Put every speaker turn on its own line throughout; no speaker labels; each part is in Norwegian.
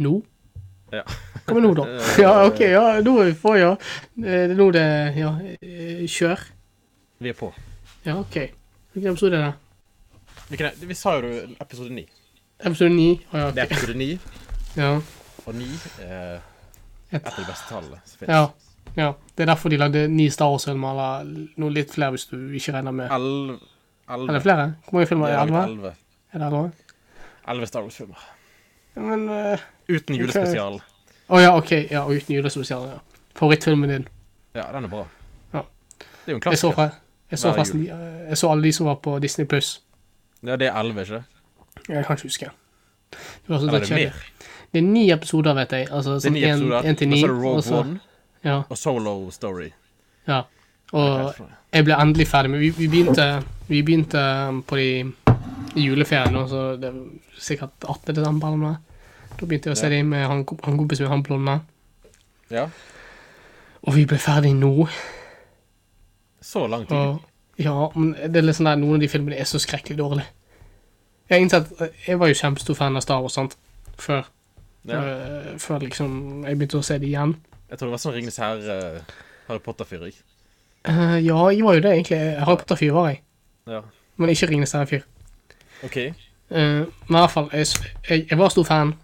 Nå?
Ja.
Hva med nå, da? Ja, OK, ja, nå får jeg ja. Eh, Det er nå det Ja, eh, kjør.
Vi er på.
Ja, OK. Hvilken episode er det?
Hvilken er- vi sa jo episode ni.
Episode ni? Å
Det
ja.
er episode ni,
ok. ja.
og ni er et av de beste tallene som finnes.
Ja. ja. Det er derfor de lagde ni Star Wars-filmer, eller noe litt flere hvis du ikke regner med
Elv... Elve.
Er det flere? Hvor mange filmer er
De
det?
har laget
Elleve?
elleve.
Er det elleve?
Elleve Star Wars-filmer.
Ja, Men eh,
Uten julespesial.
Å ja, OK. Ja, og uten julespesial. Ja. Favorittfilmen din.
Ja, den er bra.
Ja.
Det er jo en
Jeg så,
klassiker.
fra- jeg så
Hver jul.
forresten eh, Jeg så alle de som var på Disney Pluss.
Ja, det er elleve, ikke det?
Jeg kan ikke huske. Det var sånn
Eller
det,
er det mer?
det er ni episoder, vet jeg. Altså,
Det er
sånn
ni
en,
episoder.
en til
og
ni.
så er det
og
Rogue
så-
One
Ja,
og Solo Story.
ja.
Jeg
Og
tror det.
jeg ble endelig ferdig med Vi, vi, begynte, vi begynte um, på de i juleferien, og så det var sikkert 18. desember eller noe. Da begynte jeg å se
Ja.
dem med han, kom- han kompisen min, han blonde.
Ja.
Og vi ble ferdig nå.
Så lang tid.
Og, ja, men det er litt sånn der, noen av de filmene er så skrekkelig dårlige. Jeg har innsett, jeg var jo kjempestor fan av Star Wars, sant? Før,
Ja.
eh, før liksom, jeg begynte å se det igjen.
Jeg tror det var sånn Ringenes herre eh, Harry Potter-fyr. ikke?
Eh, ja, jeg var jo det, egentlig. Jeg har på fyr, var jeg.
Ja.
Men ikke Ringenes herre-fyr.
OK.
Eh, men i hvert fall, jeg, s- jeg, jeg var stor fan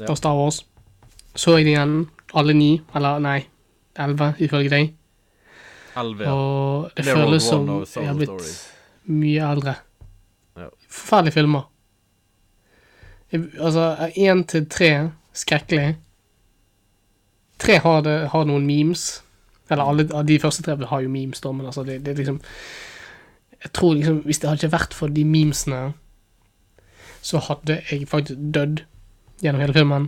Ja.
av Star Wars. Så jeg det igjen, alle ni, eller nei, elleve, ifølge deg.
Elleve. Ja.
Og det
Det er Rogue
føles som
One og Solo
jeg har blitt
Story.
mye eldre.
Ja.
Forferdelige filmer. Jeg, altså, én til tre skrekkelig. Tre har, det, har noen memes. Eller alle av de første tre har jo memes, da, men altså, det, det er liksom Jeg tror liksom Hvis det hadde ikke vært for de memesene, så hadde jeg faktisk dødd gjennom hele filmen.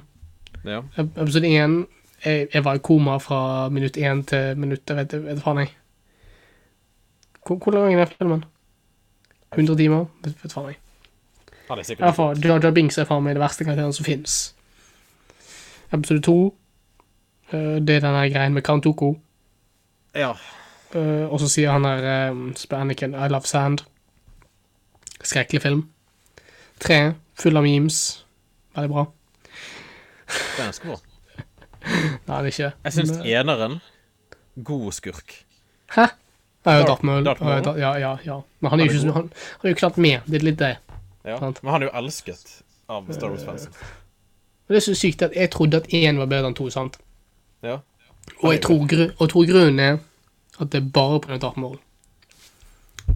Ja.
Ep- Episode én jeg, jeg var i koma fra minutt én til minutt Jeg vet, jeg vet faen, jeg. Hvor, hvor lang er den filmen? 100 timer? Vet, vet faen, jeg.
Ja, det er
I hvert
sikkert.
fall, Jar Jar Binks er faen meg den verste karakteren som fins. Episode to eh, det er den her greien med Kantoko.
Ja.
eh, og så sier han der um, Anakin, I love sand. Skrekkelig film. Tre, full av memes. Veldig bra.
Det er ganske bra.
Nei, det er ikke det.
Jeg syns
Men- eh,
eneren God skurk.
Hæ? Nei,
Darth-
Darth Maul.
Darth
Ja,
Maul.
da- Ja, ja, ja. Men han er jo ikke,
Han er
så- han, han er jo knapt med. Det er litt det.
Ja.
Sant. Eh.
Men han er jo elsket av Star Wars-fansen.
Og det er så sykt at jeg trodde at én var bedre enn to, sant?
Ja.
Og jeg tror, gru, og jeg tror grunnen er at det er bare pga. Darth Maul.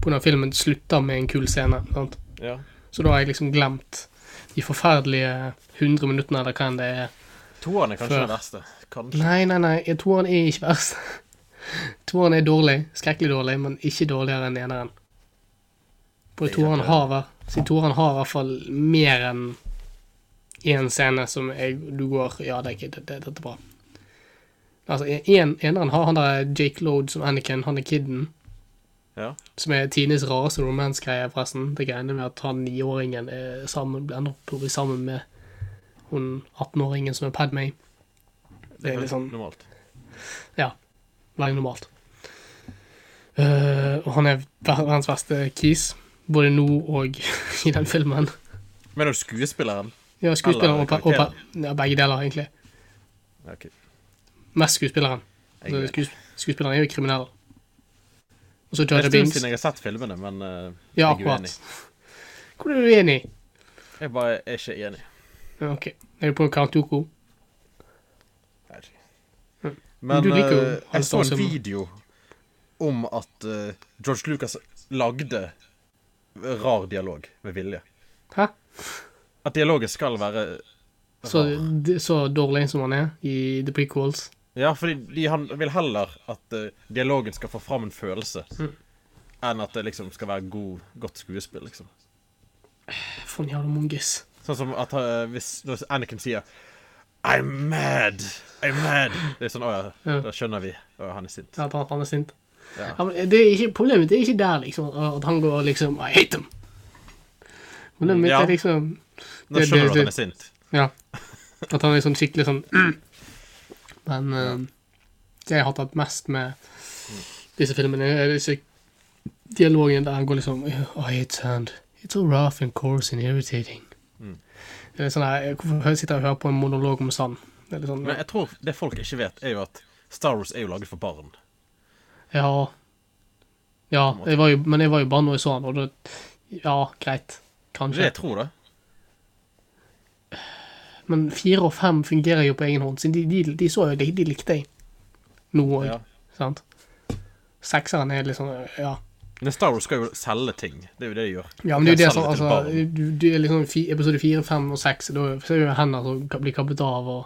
Pga. filmen slutter med en kul scene. sant?
Ja.
Så da har jeg liksom glemt de forferdelige 100 minuttene eller hva enn det er.
Toeren er kanskje
Før.
den verste. Kanskje.
Nei, nei, nei. jeg- Toeren er ikke verst. Toeren er dårlig. Skrekkelig dårlig, men ikke dårligere enn eneren. For
Det er
toeren
jævlig.
har hver- siden toeren har i hvert fall mer enn én scene som jeg, du går Ja, det er ikke, det, det, dette er bra. Altså, en, eneren har han der Jake Load som Anakin, han er kiden.
Ja.
Som er tidenes rareste romance-greie, forresten. Det greiene med at han niåringen er sammen, ender opp å bli sammen med hun 18-åringen som er Padmay. Det er litt sånn
normalt.
Veldig normalt. Eh, og han er ver- verdens beste kis, både nå og i den filmen.
Men er du skuespilleren?
Ja, skuespilleren
Eller
og, pa- og pa- ja, begge deler, egentlig.
Ja, OK.
Mest skuespilleren.
Jeg,
Altså, skues, skuespilleren er jo kriminell. Og så
det
Jar
er
Jar
en stund
Binks.
siden jeg har sett filmene, men eh,
Ja,
jeg er uenig.
akkurat. Hvor er du uenig?
Jeg bare er ikke enig.
Ja, OK. Er du på Karantoko?
Jeg vet ikke.
Mm. Men
Men
du liker jo
eh,
alle
jeg så en
Star Wars-filmer.
video om at eh, George Lucas lagde rar dialog med vilje.
Hæ?
At dialogen skal være
Så, d- så dårlig som han er i The Prequels.
Ja, fordi de, han vil heller at eh, dialogen skal få fram en følelse, enn at det liksom skal være god, godt skuespill, liksom.
Faen jævla mongis.
Sånn som at eh, hvis når Anakin sier I'm mad! I'm mad! Det er sånn, å ja,
Ja.
da skjønner vi. Å, han er sint.
At han- han er sint.
Ja.
Ja, men det er ikke, problemet det er ikke der, liksom, at han går liksom I hate them. Problemet mitt
Ja.
er liksom
Nå
det- det-
skjønner du
det-
at han er sint.
Ja. At han er sånn skikkelig sånn mm. Men eh, det jeg har tatt mest med disse filmene, er disse "Oh,
Mm.
dialogene der han går liksom I hate sand. It's so rough and coarse and irritating. Det er litt sånn her, Hvorfor sitter jeg og hører på en monolog om sand? Det er litt sånn,
Men jeg tror det folk ikke vet, er jo at Star Wars er jo laget for barn.
ja Ja, jeg var jo, men jeg var jo bare nå jeg så han, og da Ja, greit.
Det
Kanskje.
jeg tror det.
Men fire og fem fungerer jo på egen hånd, så de, de, de så jo, de, de likte jeg. Nå òg,
Ja.
sant. Sekseren er liksom Ja.
Men Star Wars skal jo selge ting. Det er jo det de gjør.
Ja, men det er jo det
Selge
som
til
altså,
barn.
du, du er liksom fi, Episode fire, fem og seks, da ser du hender som ka- blir kappet av og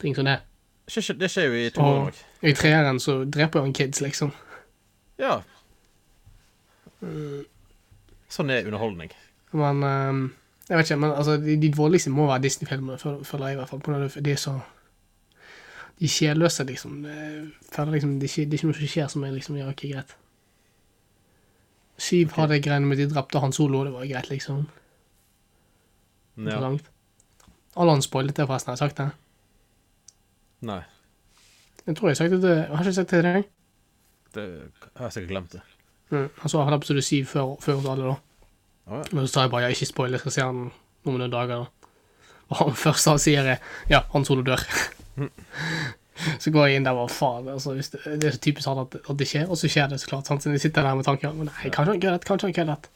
ting som det.
Skjer ikke- Det skjer jo i to år
Og
òg.
i treeren så dreper jo han kids, liksom.
Ja. Sånn er underholdning.
Men ehm, Jeg vet ikke, men altså, de, de dårligste må være Disney-filmene, føl- føler jeg i hvert fall. På grunn av det- De er så De er sjelløse, liksom. Jeg Føler liksom det er, ikke, det er ikke noe som skjer som er liksom Ja, ok, greit. Syv hadde greiene med de drepte Han Solo, det var greit, liksom.
Ja.
Langt. Alle han spoilet det, forresten. Har jeg sagt det?
Nei.
Jeg tror jeg har sagt det. til- Har jeg ikke sagt det til deg?
Det har jeg sikkert glemt. det.
Mm. Han så han episode syv før, før oss alle, da.
Å, ja.
Men så sa jeg bare ja, ikke spoil, jeg skal se han om noen dager. da. Og han første han sier er ja, han Solo dør. så går jeg inn der og bare faen. Altså, hvis det, det er så typisk han at, at det skjer, og så skjer det, så klart. Sant? Så jeg sitter der med tanken om nei, kanskje han køddet, kanskje han køddet.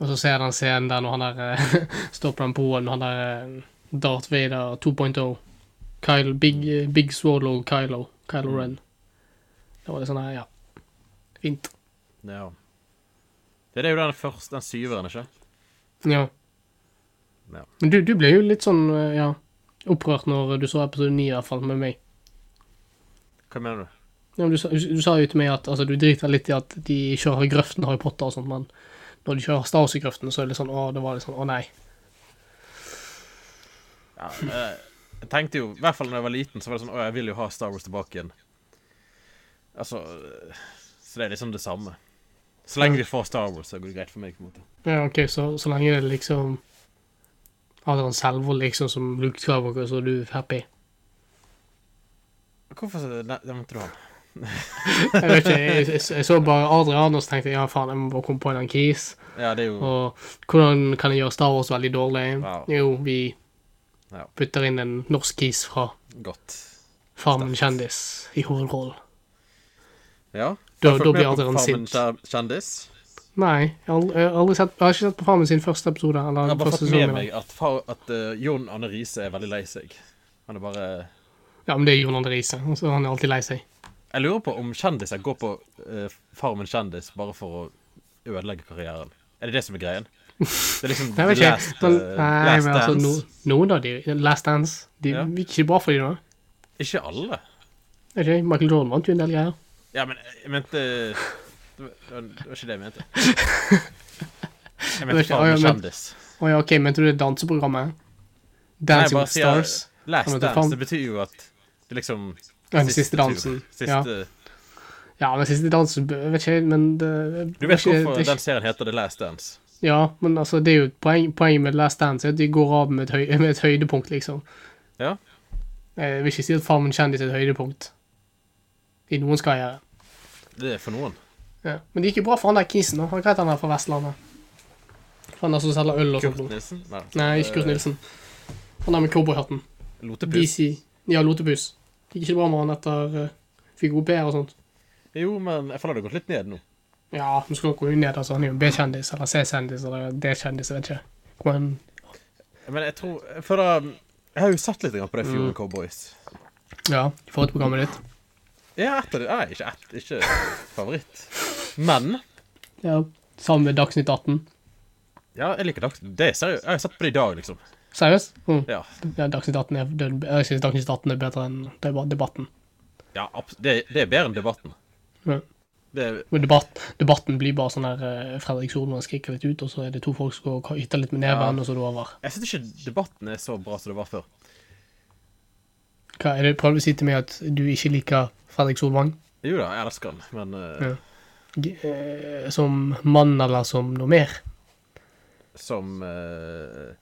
Og så ser jeg den scenen der når han der eh, står på den broen, han der eh, Darth Vader 2.0. Kyle, Big, eh, Big Swallow Kylo. Kylo Ren. Det var litt sånn her, ja. Fint.
ja. Det er jo den første, den syveren, ikke?
Ja.
Ja.
Men du, du ble jo litt sånn eh, ja, opprørt når du så episode 9, i hvert fall, med meg.
Hva mener du?
Ja, men du, sa- du sa jo til meg at altså, du driter litt i at de kjører i grøften Harry Potter og sånt, men når de kjører Star Wars i grøften, så er det litt sånn å, det var litt sånn å nei.
Ja, eh, jeg tenkte jo, i hvert fall da jeg var liten, så var det sånn Å, jeg vil jo ha Star Wars tilbake igjen. Altså eh, Så det er liksom det samme. Så lenge de får Star Wars, så går det greit for meg. på en måte.
Ja, OK, så, så lenge det liksom Har en selvvold liksom som Luke Skywalker, så er du happy.
Hvorfor så- ne- nevnte du han?
Jeg vet ikke, jeg, jeg, jeg så bare Adrian, og så tenkte jeg ja, faen, jeg må bare komme på en eller annen kis.
Ja, det er jo
Og hvordan kan jeg gjøre Star Wars veldig dårlig?
Wow.
Jo, vi
Ja.
putter inn en norsk kis fra
godt.
Farmen kjendis i hovedrollen.
Ja.
Da-
Har du
da
fulgt
blir
med på
Adrian
Farmen
sint.
kjær- Kjendis?
Nei, jeg har, aldri, jeg, har aldri sett, jeg har ikke sett på Farmen sin første episode.
Jeg
Eller
har bare
første
fått med
sesong.
meg
eller-
at, far, at eh, Jon Arne Riise er veldig lei seg. Han er bare
Ja, men det er Jon André Riise. og så er Han er alltid lei seg.
Jeg lurer på om kjendiser går på eh, Farmen kjendis bare for å ødelegge karrieren. Er det det som er greien? Det er liksom
Nei, jeg vet ikke.
last, eh,
Men, nei,
last
men altså,
dance.
no, noen av de Last Dance. De
Ja.
gikk ikke bra for de da.
Ikke alle.
Er ikke? Michael Jordan vant jo en del greier.
Ja, men jeg mente Det var, det var ikke det jeg mente.
var
Jeg mente
ikke- ja,
Farmen
men-
kjendis.
Å ja, OK, mente du det danseprogrammet?
Nei, jeg
Dancing
bare
with
sier
Stars?
Last
Han heter
dance.
Farm-
Det betyr jo at det liksom
Ja, den siste dansen.
tur.
Ja.
Siste,
Ja, men siste dansen Jeg vet ikke, men det,
Du vet
det er ikke-
hvorfor
det er ikke-
den serien heter The Last Dance?
Ja, men altså, det er jo et poeng, poenget med Last Dance, er at de går av med et, høy, med et høydepunkt, liksom. Eh,
Ja.
Jeg vil ikke si at Farmen kjendis er et høydepunkt. I noens karriere.
Det er for noen.
Ja. Men det gikk jo bra for han der kisen. da. Han er greit han er fra Vestlandet. Han der som selger øl og
Kurt
sånt. noe.
Nilsen?
Nei, ikke Kurt Nilsen. Han der med cowboyhatten.
Eh, Lotepus.
DC. Ja, Lotepus. Det gikk ikke bra med han etter uh, fikk OP og sånt.
Jo, men jeg føler det har gått litt ned nå.
Ja, nå skal dere jo ned, altså. Han er jo B-kjendis, eller C-kjendis, eller D-kjendis, jeg vet ikke. Hvor han
Men jeg tror For da Mm. Jeg har jo sett litt grann på det Fjorden Cowboys.
Ja, får et programmet ditt.
Ja, ett av de Nei, ikke ett. Ikke favoritt. Men
Ja, sammen med Dagsnytt 18.
Ja, jeg liker Dags... Det er seriøst. Jeg har sett på det i dag, liksom.
Seriøst? Mm.
Ja,
Ja, Dagsnytt 18 er, det, jeg synes Dagsnytt 18 er bedre enn deba- Debatten.
ja abs- det, det er bedre enn Debatten.
Ja.
Det er
Men debatt, debatten blir bare sånn her eh, Fredrik Solvang skriker litt ut, og så er det to folk som går og ytter litt med neven,
Ja.
og så er det over.
Jeg syns ikke debatten er så bra som det var før.
Hva, er det, prøver du å si til meg at du ikke liker Fredrik Solvang?
Jo da, jeg elsker den, men eh,
Ja. G eh, som mann, eller som noe mer?
som eh,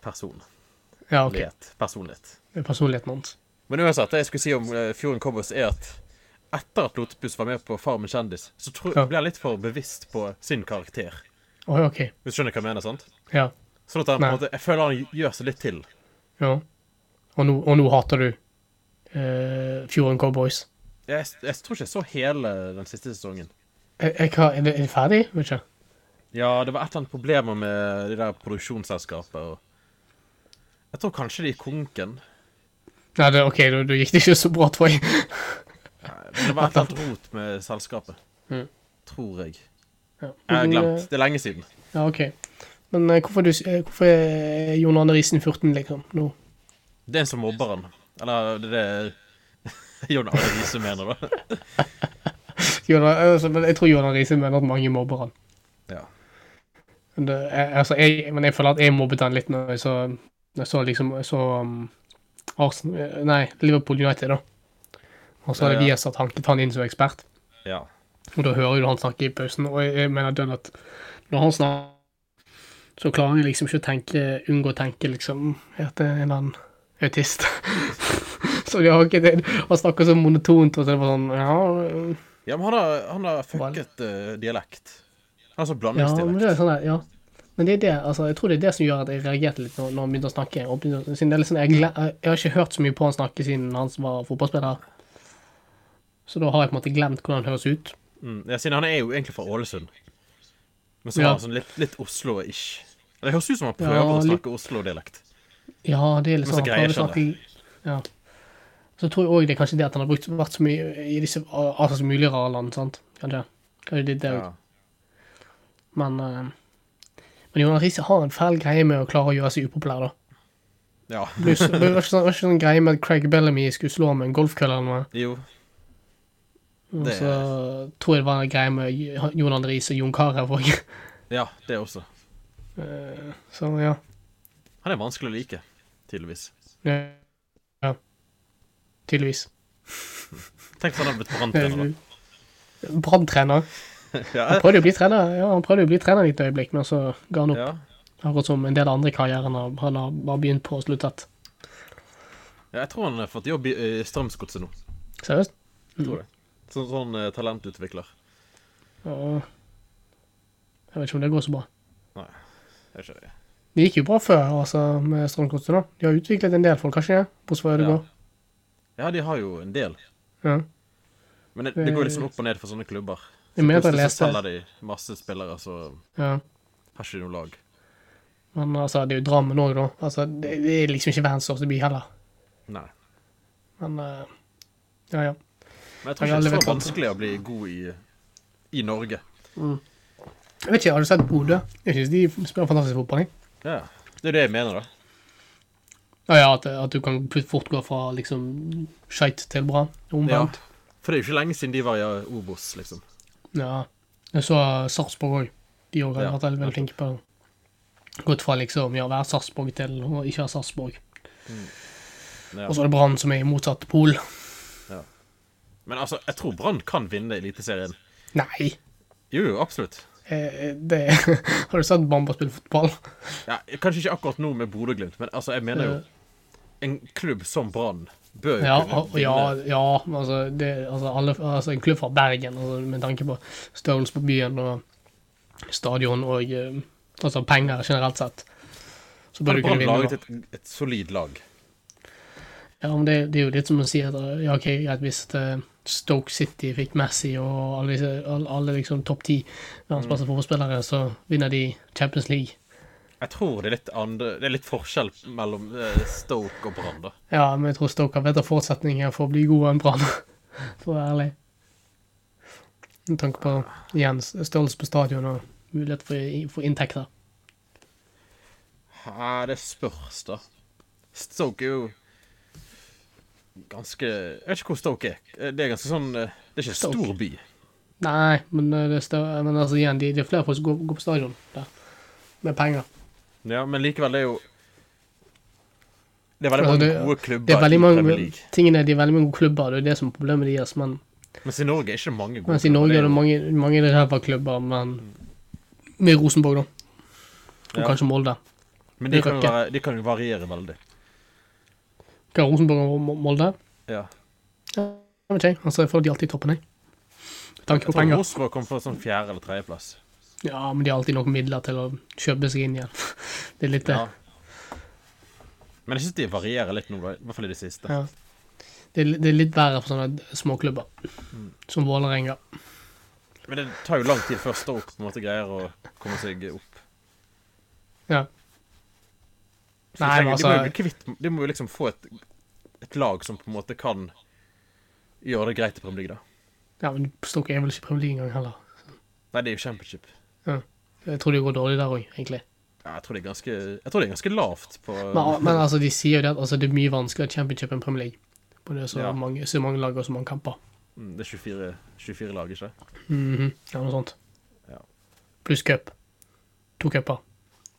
person.
Ja, ok.
Let. Personlighet.
Det er Personligheten hans.
Men uansett, det jeg skulle si om eh, Fjorden Cowboys, er at etter at Lotepus var med på Farmen kjendis, så tror,
Ja.
ble han litt for bevisst på sin karakter.
Oi, OK.
Hvis du skjønner hva jeg mener, sant?
Ja.
Sånn at han, på en
Nei.
måte, jeg føler han gjør seg litt til.
ja. Og, nå, og nå hater du eh, Fjorden Cowboys.
Jeg, jeg tror ikke jeg så hele den siste sesongen.
Jeg, jeg, har- er, det, er det ferdig? Vet ikke.
Ja, det var et eller annet problemer med de der produksjonsselskapet og Jeg tror kanskje de gikk konken.
Nei, det, OK, da da gikk det ikke så bra, tror jeg.
Nei, men Det var et eller annet rot med selskapet.
Mhm.
Tror jeg.
Ja.
Jeg har
eh,
glemt. Det er lenge siden.
Ja, OK. Men eh, hvorfor, du, s- eh, hvorfor er Jon Arne Riisen 14, liksom? Nå?
Det er en som mobber han. Eller det er det Jon Arne Riise mener, da.
Jon Arne- altså, men Jeg tror Jon Arne Riisen mener at mange mobber han.
Ja.
Men, det, jeg, altså, jeg, men jeg føler at jeg mobbet han litt når jeg så, når jeg så liksom jeg så um, Arsenal Nei, Liverpool United, da. Og så hadde
Ja, ja.
Viasat hanket han inn som ekspert.
ja.
Og da hører du han snakke i pausen, og jeg, jeg mener dønn at når han snakker, så klarer jeg liksom ikke å tenke, unngå å tenke liksom at det er en eller annen autist. så de har ikke det. Han snakker så monotont, og så er det bare sånn Ja,
Ja, men han har, han har fucket eh, dialekt. Han har sånn
ja men det
blandingsdialekt.
er sånn der, ja. Men det er det, altså, jeg tror det er det som gjør at jeg reagerte litt når, når han begynte å snakke. Og begynte, å- siden det er litt sånn, jeg, gle- jeg har ikke hørt så mye på han snakke siden han som var fotballspiller. Så da har jeg på en måte glemt hvordan han høres ut.
Mm, ja, siden han er jo egentlig fra Ålesund. Men så
Ja.
har han sånn litt, litt Oslo-ish. Det høres ut som han prøver
Ja,
å
litt-
snakke Oslo-dialekt.
Ja, det er
Men så
liksom han
greier
prøver å
ikke
snakke ja. Så tror jeg òg det er kanskje det at han har brukt, vært så mye i disse altså så mulig rare land, sant. Kanskje. Kanskje det er det
Ja.
også. Men, eh, men Jonas Riise har en fæl greie med å klare å gjøre seg upopulær, da.
ja.
Pluss, det var ikke sånn, det var ikke sånn greie med at Craig Bellamy skulle slå med en golfkølle eller noe.
Jo.
Og
Det-
så eh, tror jeg det var en greie med Jon André Riise og Jon Carew òg.
Ja, det også.
Så ja.
Han er vanskelig å like, tydeligvis.
ja. Ja. Tydeligvis.
Tenk hvis han hadde blitt branntrener,
Eh, Branntrener.
da.
Han
Ja,
prøvde jo å bli trener ja, han prøvde jo å bli trener et øyeblikk, men så ga han opp.
ja.
Akkurat som en del andre i karrieren har- han har bare begynt på og sluttet.
ja jeg tror han har fått jobb i eh, Strømsgodset nå.
Seriøst? Mm.
Jeg tror det. Sånn, sånn eh, talentutvikler.
Ja. Jeg vet ikke om det går så bra.
Jeg vet ikke.
Det gikk jo bra før altså, med Strømkortet. da. De har utviklet en del folk, har ikke det? Bortsett fra Ødegaard.
Ja, de har jo en del.
Ja.
Men det, det går liksom opp og ned for sånne klubber.
Jeg mener at jeg
Plutselig så
leste
selger de masse spillere, så
ja.
har ikke de noe lag.
Men altså, det er jo Drammen òg, da. Altså, det, det er liksom ikke verdens største by heller.
Nei.
Men eh, ja, ja.
Men
Jeg har
jeg tror ikke det er
levert
så
kamp.
vanskelig å bli god i, i Norge.
Jeg vet ikke, Har du sett Bodø? Jeg syns de spiller fantastisk fotball. jeg.
Ja. Det er det jeg mener, da.
Ja, ja, at, at du kan plut- fort gå fra liksom skeit til bra. Omvendt.
For det er jo ikke lenge siden de var i eh, Obos, liksom.
Ja. Jeg så Sarpsborg òg. De òg har
Ja,
vært veldig flinke på det. Gått fra liksom ja, å være Sarpsborg til å ikke være Sarpsborg.
Ja.
Og så er det Brann som er i motsatt pol.
Men altså, jeg tror Brann kan vinne Eliteserien.
Nei!
Jo, jo, absolutt.
Eh, det Har du sett Bamba spille fotball?
Ja, kanskje ikke akkurat nå med Bodø-Glimt, men altså, jeg mener jo En klubb som Brann bør jo
Eh. Ja,
kunne
og-
vinne.
ja, ja altså, det, altså, alle, altså En klubb fra Bergen, altså, med tanke på størrelse på byen og stadion og eh, altså, penger generelt sett, så bør
Hadde
du kunne
Brann
vinne. da.
laget et, et solid lag.
Ja, men det, det er jo litt som å si at eh, ja, ok, greit, hvis eh, Stoke City fikk Messi og alle, disse, alle, alle liksom topp ti
Mm.
verdens beste fotballspillere, så vinner de Champions League.
Jeg tror det er litt, andre, det er litt forskjell mellom eh, Stoke og Brann, da.
Ja, men jeg tror Stoke har bedre forutsetninger for å bli god enn Brann, for å være ærlig. Med tanke på igjen størrelse på stadion og mulighet for, for inntekter.
Ja, det spørs, da. Stoke er jo ganske Jeg vet ikke hvor Stoke er. Det er ganske sånn eh, Det er ikke en
Stoke.
stor by.
Nei, men, eh, det, er større, men altså, igjen, det, det er flere folk som går, går på stadion der, med penger.
Ja, men likevel, det er jo Det er veldig
Altså,
mange
det-
gode klubber
Det er veldig
i
mange
Premier League.
tingene, de er veldig mange klubber, det er det som er problemet deres, men
Mens i Norge er ikke mange gode
Mens altså, i Norge
klubber.
er det mange, mange ræva klubber, men med Rosenborg, da. Og
Ja.
kanskje Molde.
Men de kan, jo
Røkke.
være, de kan jo variere veldig.
Hva er Rosenborg og Mo- Molde?
Ja.
Jeg vet ikke. Altså, jeg føler de alltid i toppen, jeg. Med tanke
Jeg
på
tror
penger.
Rosenborg kom på sånn fjerde- eller tredjeplass.
Ja, men de har alltid nok midler til å kjøpe seg inn igjen. Det er litt eh, det.
Ja. Men jeg syns de varierer litt nå, da. I hvert fall i det siste.
Ja. Det, er, li- det er litt verre for sånne småklubber,
Mm.
som Vålerenga.
Men det tar jo lang tid før Stoke på en måte greier å komme seg opp.
Ja.
Så
Nei, men
de, trenger, de, må jo
altså
bli kvitt, de må jo liksom få et, et lag som på en måte kan gjøre det greit i Premier League, da.
ja, men Stoke er vel ikke i Premier League engang heller.
Nei, det er jo championship.
Jeg tror det går dårlig der òg, egentlig.
Ja, jeg tror det er ganske, jeg tror det er ganske lavt på
Men, men altså, de sier jo det at altså, det er mye vanskeligere championship enn Premier League. På det er så,
Ja.
mange, så mange lag og så mange kamper.
Mm, Det er 24, 24 lag, ikke
Mhm, Ja, noe sånt.
Ja.
Pluss cup. To cuper.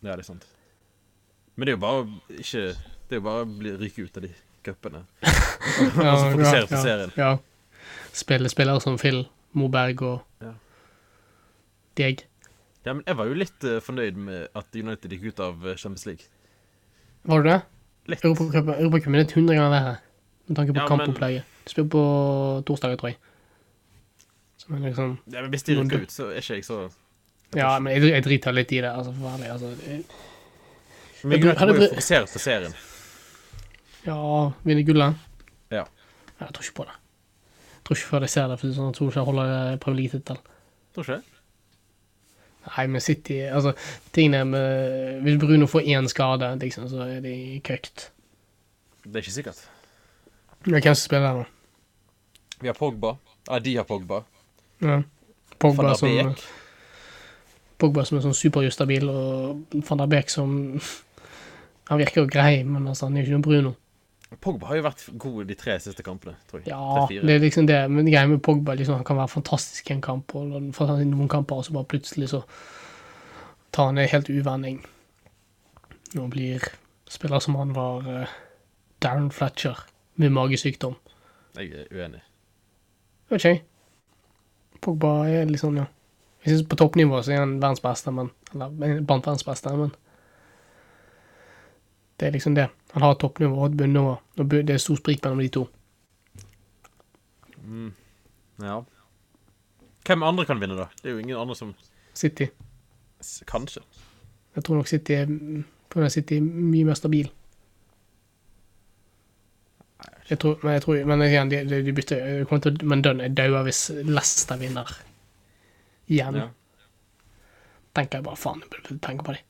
Ja, det er sant. Men det er jo bare å ikke Det er jo bare å bli ryke ut av de cupene.
Ja,
Og så fokusere
ja,
på serien.
Ja. Spille spillere som Phil Moberg og
Ja.
deg.
Ja, men jeg var jo litt eh, fornøyd med at United gikk ut av eh, Champions League.
Var du det?
Litt.
Europacupen Europacupen er 100 ganger verre med tanke på
Ja, men-
kampopplegget. Du spiller på torsdager, tror jeg. Så, men liksom
Ja, men hvis de rykker ut, så er ikke jeg så
Ja, men jeg, jeg driter litt i det, altså, for å være ærlig. Altså, jeg-
Men
bru-
United
hadde
må jo
bru-
fokusere på serien.
ja, vinne gullet.
Ja.
Ja, Jeg tror ikke på det. Jeg tror ikke før jeg ser det, for sånn, jeg tror ikke jeg holder eh, Premier League-tittel.
Tror ikke det?
Nei, men City Altså, tingene med Hvis Bruno får én skade, liksom, så er de køkt.
Det er ikke sikkert.
Ja, hvem som spiller der,
Vi har Pogba. Ja, de har Pogba.
da? Ja.
Van
Pogba
der
som,
Beek.
Pogba som er sånn superjustabil, og van der Beek som Han virker jo grei, men altså, han er jo ikke noe Bruno.
Pogba har jo vært god de tre siste kampene, tror jeg.
Ja,
Tre-fire.
det er liksom det. Men greia med Pogba liksom, han kan være fantastisk i en kamp, og fantastisk i noen kamper, og så bare plutselig så tar han en helt uvending. Og blir spiller som han var eh, Darren Fletcher med magesykdom.
Jeg er uenig.
Vet ikke jeg. Pogba er litt sånn, ja. Jeg synes på toppnivå så er han verdens beste, men Eller blant verdens beste, men Det er liksom det. Han har et toppnivå og et bunnivå. Og bu- det er stor sprik mellom de to.
Ja. Hvem andre kan vinne, da? Det er jo ingen andre som
City.
s- Kanskje.
Jeg tror nok City er på grunn av City er mye mer stabil. Jeg tror, men jeg tror, men igjen, de, de de bytter jeg kommer til, å- Men Dunn er daua hvis Leicester vinner igjen.
Ja.
Tenker jeg bare faen, jeg burde tenke på det.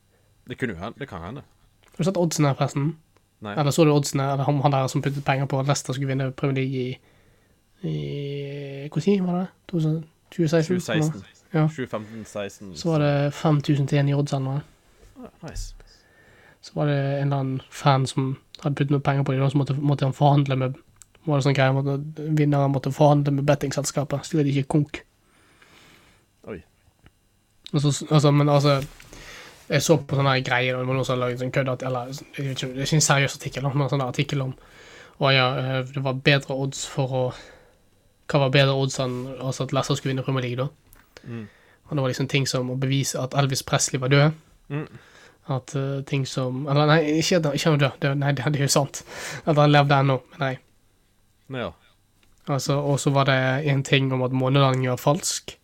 Det kunne jo hende. Det kan hende.
Har du sett oddsen her, forresten?
Nei.
Eller så du oddsene, eller han, han der som puttet penger på at Leicester skulle vinne Premier League i, i Når var det? 2000 2016?
2016.
Ja.
2015, 16
Så var det 5000 til 1 i odds eller noe.
Ah, Nice.
Så var det en eller annen fan som hadde puttet noe penger på dem, og så måtte, måtte han forhandle med var det sånn greie, måtte, Vinneren måtte forhandle med bettingselskapet, slik at de ikke konk.
Oi.
Og så, altså, men altså Jeg så på sånne her greier, og det var noen som hadde laget en kødd at- Eller jeg vet ikke, det er ikke en seriøs artikkel, men en sånn her artikkel om Å ja, eh, det var bedre odds for å Hva var bedre odds enn altså at Leicester skulle vinne Premier League, da?
Mm.
Og det var liksom ting som å bevise at Elvis Presley var død.
Mm.
At eh, ting som Eller nei, ikke at han ikke han var død, det, nei, det, det er jo sant. At han levde ennå, men nei.
Nei, ja.
Altså, og så var det en ting om at månelandingen var falsk.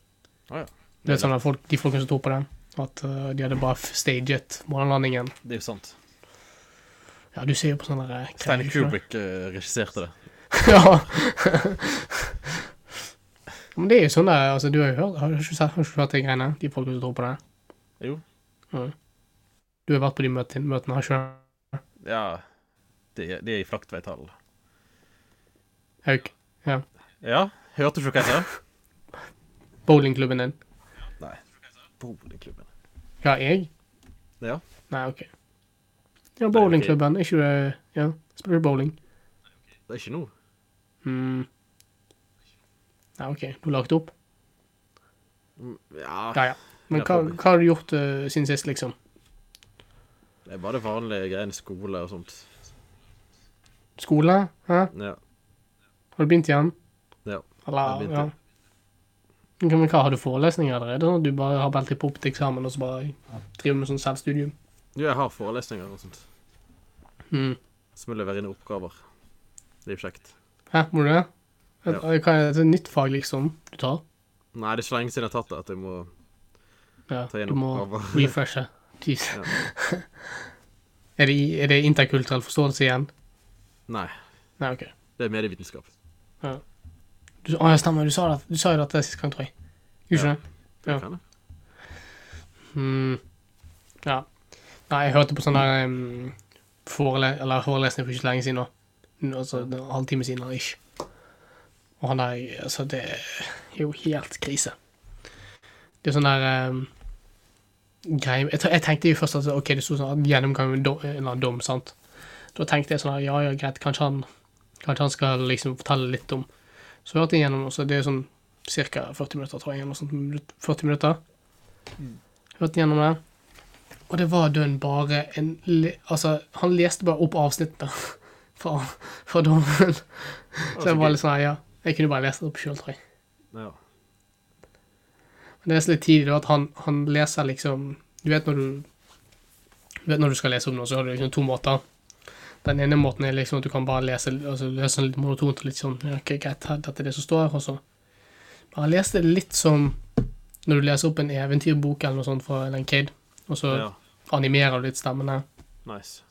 Ah, ja.
Det er sånn at folk, de folkene som tror på det, at eh, de hadde bare f- staget månelandingen.
Det er jo sant.
Ja, du ser jo på sånne der
Stanley Kubrick eh, regisserte det.
ja. Men det er jo sånn der, altså, du har jo hørt, har du ikke sett, har du ikke hørt de greiene, de folkene som tror på det?
Jo.
Ja. Du har vært på de møtene, møtene har ikke du?
Ja. Det, er- det er i flaktveitall.
Hauk,
Ja. Hørte du ikke hva jeg sa?
bowlingklubben din.
Nei. Bowlingklubben.
Ja, jeg?
Ja.
Nei, ok. Ja, bowlingklubben, er ikke du, ja, spiller du bowling?
Det er ikke noe.
Mm. Nei, ok, du har lagt opp?
Mm, Ja.
Ja, ja. Men
Ja,
hva,
probably.
hva har du gjort eh, siden sist, liksom?
Det er bare det vanlige greiene. Skole og sånt.
Skole? Hæ?
Ja.
Har du begynt igjen?
Ja. Jeg
Eller,
begynte.
ja. Ok, Men hva, har du forelesninger allerede? Sånn at du bare har beltet på opp til eksamen, og så bare driver med sånn selvstudium?
Jo, jeg har forelesninger og sånt.
Mm.
Så må jeg levere inn oppgaver. Det er jo kjekt.
Hæ, må du det? Et,
Ja.
hva er det, et nytt fag, liksom, du tar?
Nei, det er så lenge siden jeg har tatt det at jeg må
Ja,
Ta
du
gjennom
må
over.
refreshe. Jeez.
Ja.
Er det, i- er det interkulturell forståelse igjen?
Nei,
Nei, OK.
det er medievitenskap.
Du, å, ja, stemmer. Du sa, det, du sa jo dette sist gang, tror jeg. Gjorde du
Ja.
ikke det? Ja.
Kan jeg?
Mm. Ja. Nei, jeg hørte på sånn der um, forele eller forelesning for ikke så lenge siden nå. Nå, Altså en halvtime siden eller ish. Og han der Altså, det er jo helt krise. Det er sånn der um, greie jeg, te- jeg tenkte jo først at OK, det sto sånn at gjennomgang med dom, en eller annen dom, sant. Da tenkte jeg sånn her, ja ja, greit, kanskje han Kanskje han skal liksom fortelle litt om Så hørte jeg gjennom, og så det er sånn ca. 40 minutter, tror jeg. Eller noe sånt, minutt- 40 minutter hørte gjennom det. Og det var dønn bare en le- Altså, han leste bare opp avsnittene fra, fra dommen. Så jeg var litt sånn, ja. Jeg kunne bare lest det opp sjøl, tror jeg.
Ja.
Men det er så litt tidlig, da, at han, han leser liksom Du vet når du Du vet når du skal lese opp noe, så har du liksom to måter. Den ene måten er liksom at du kan bare lese altså lese sånn litt monotont og litt sånn ja, ok, greit, her, dette er det som står, og så Men han leste det litt som når du leser opp en eventyrbok eller noe sånt fra Ellen Cade, og så
ja.
animerer du litt stemmene.
Nice.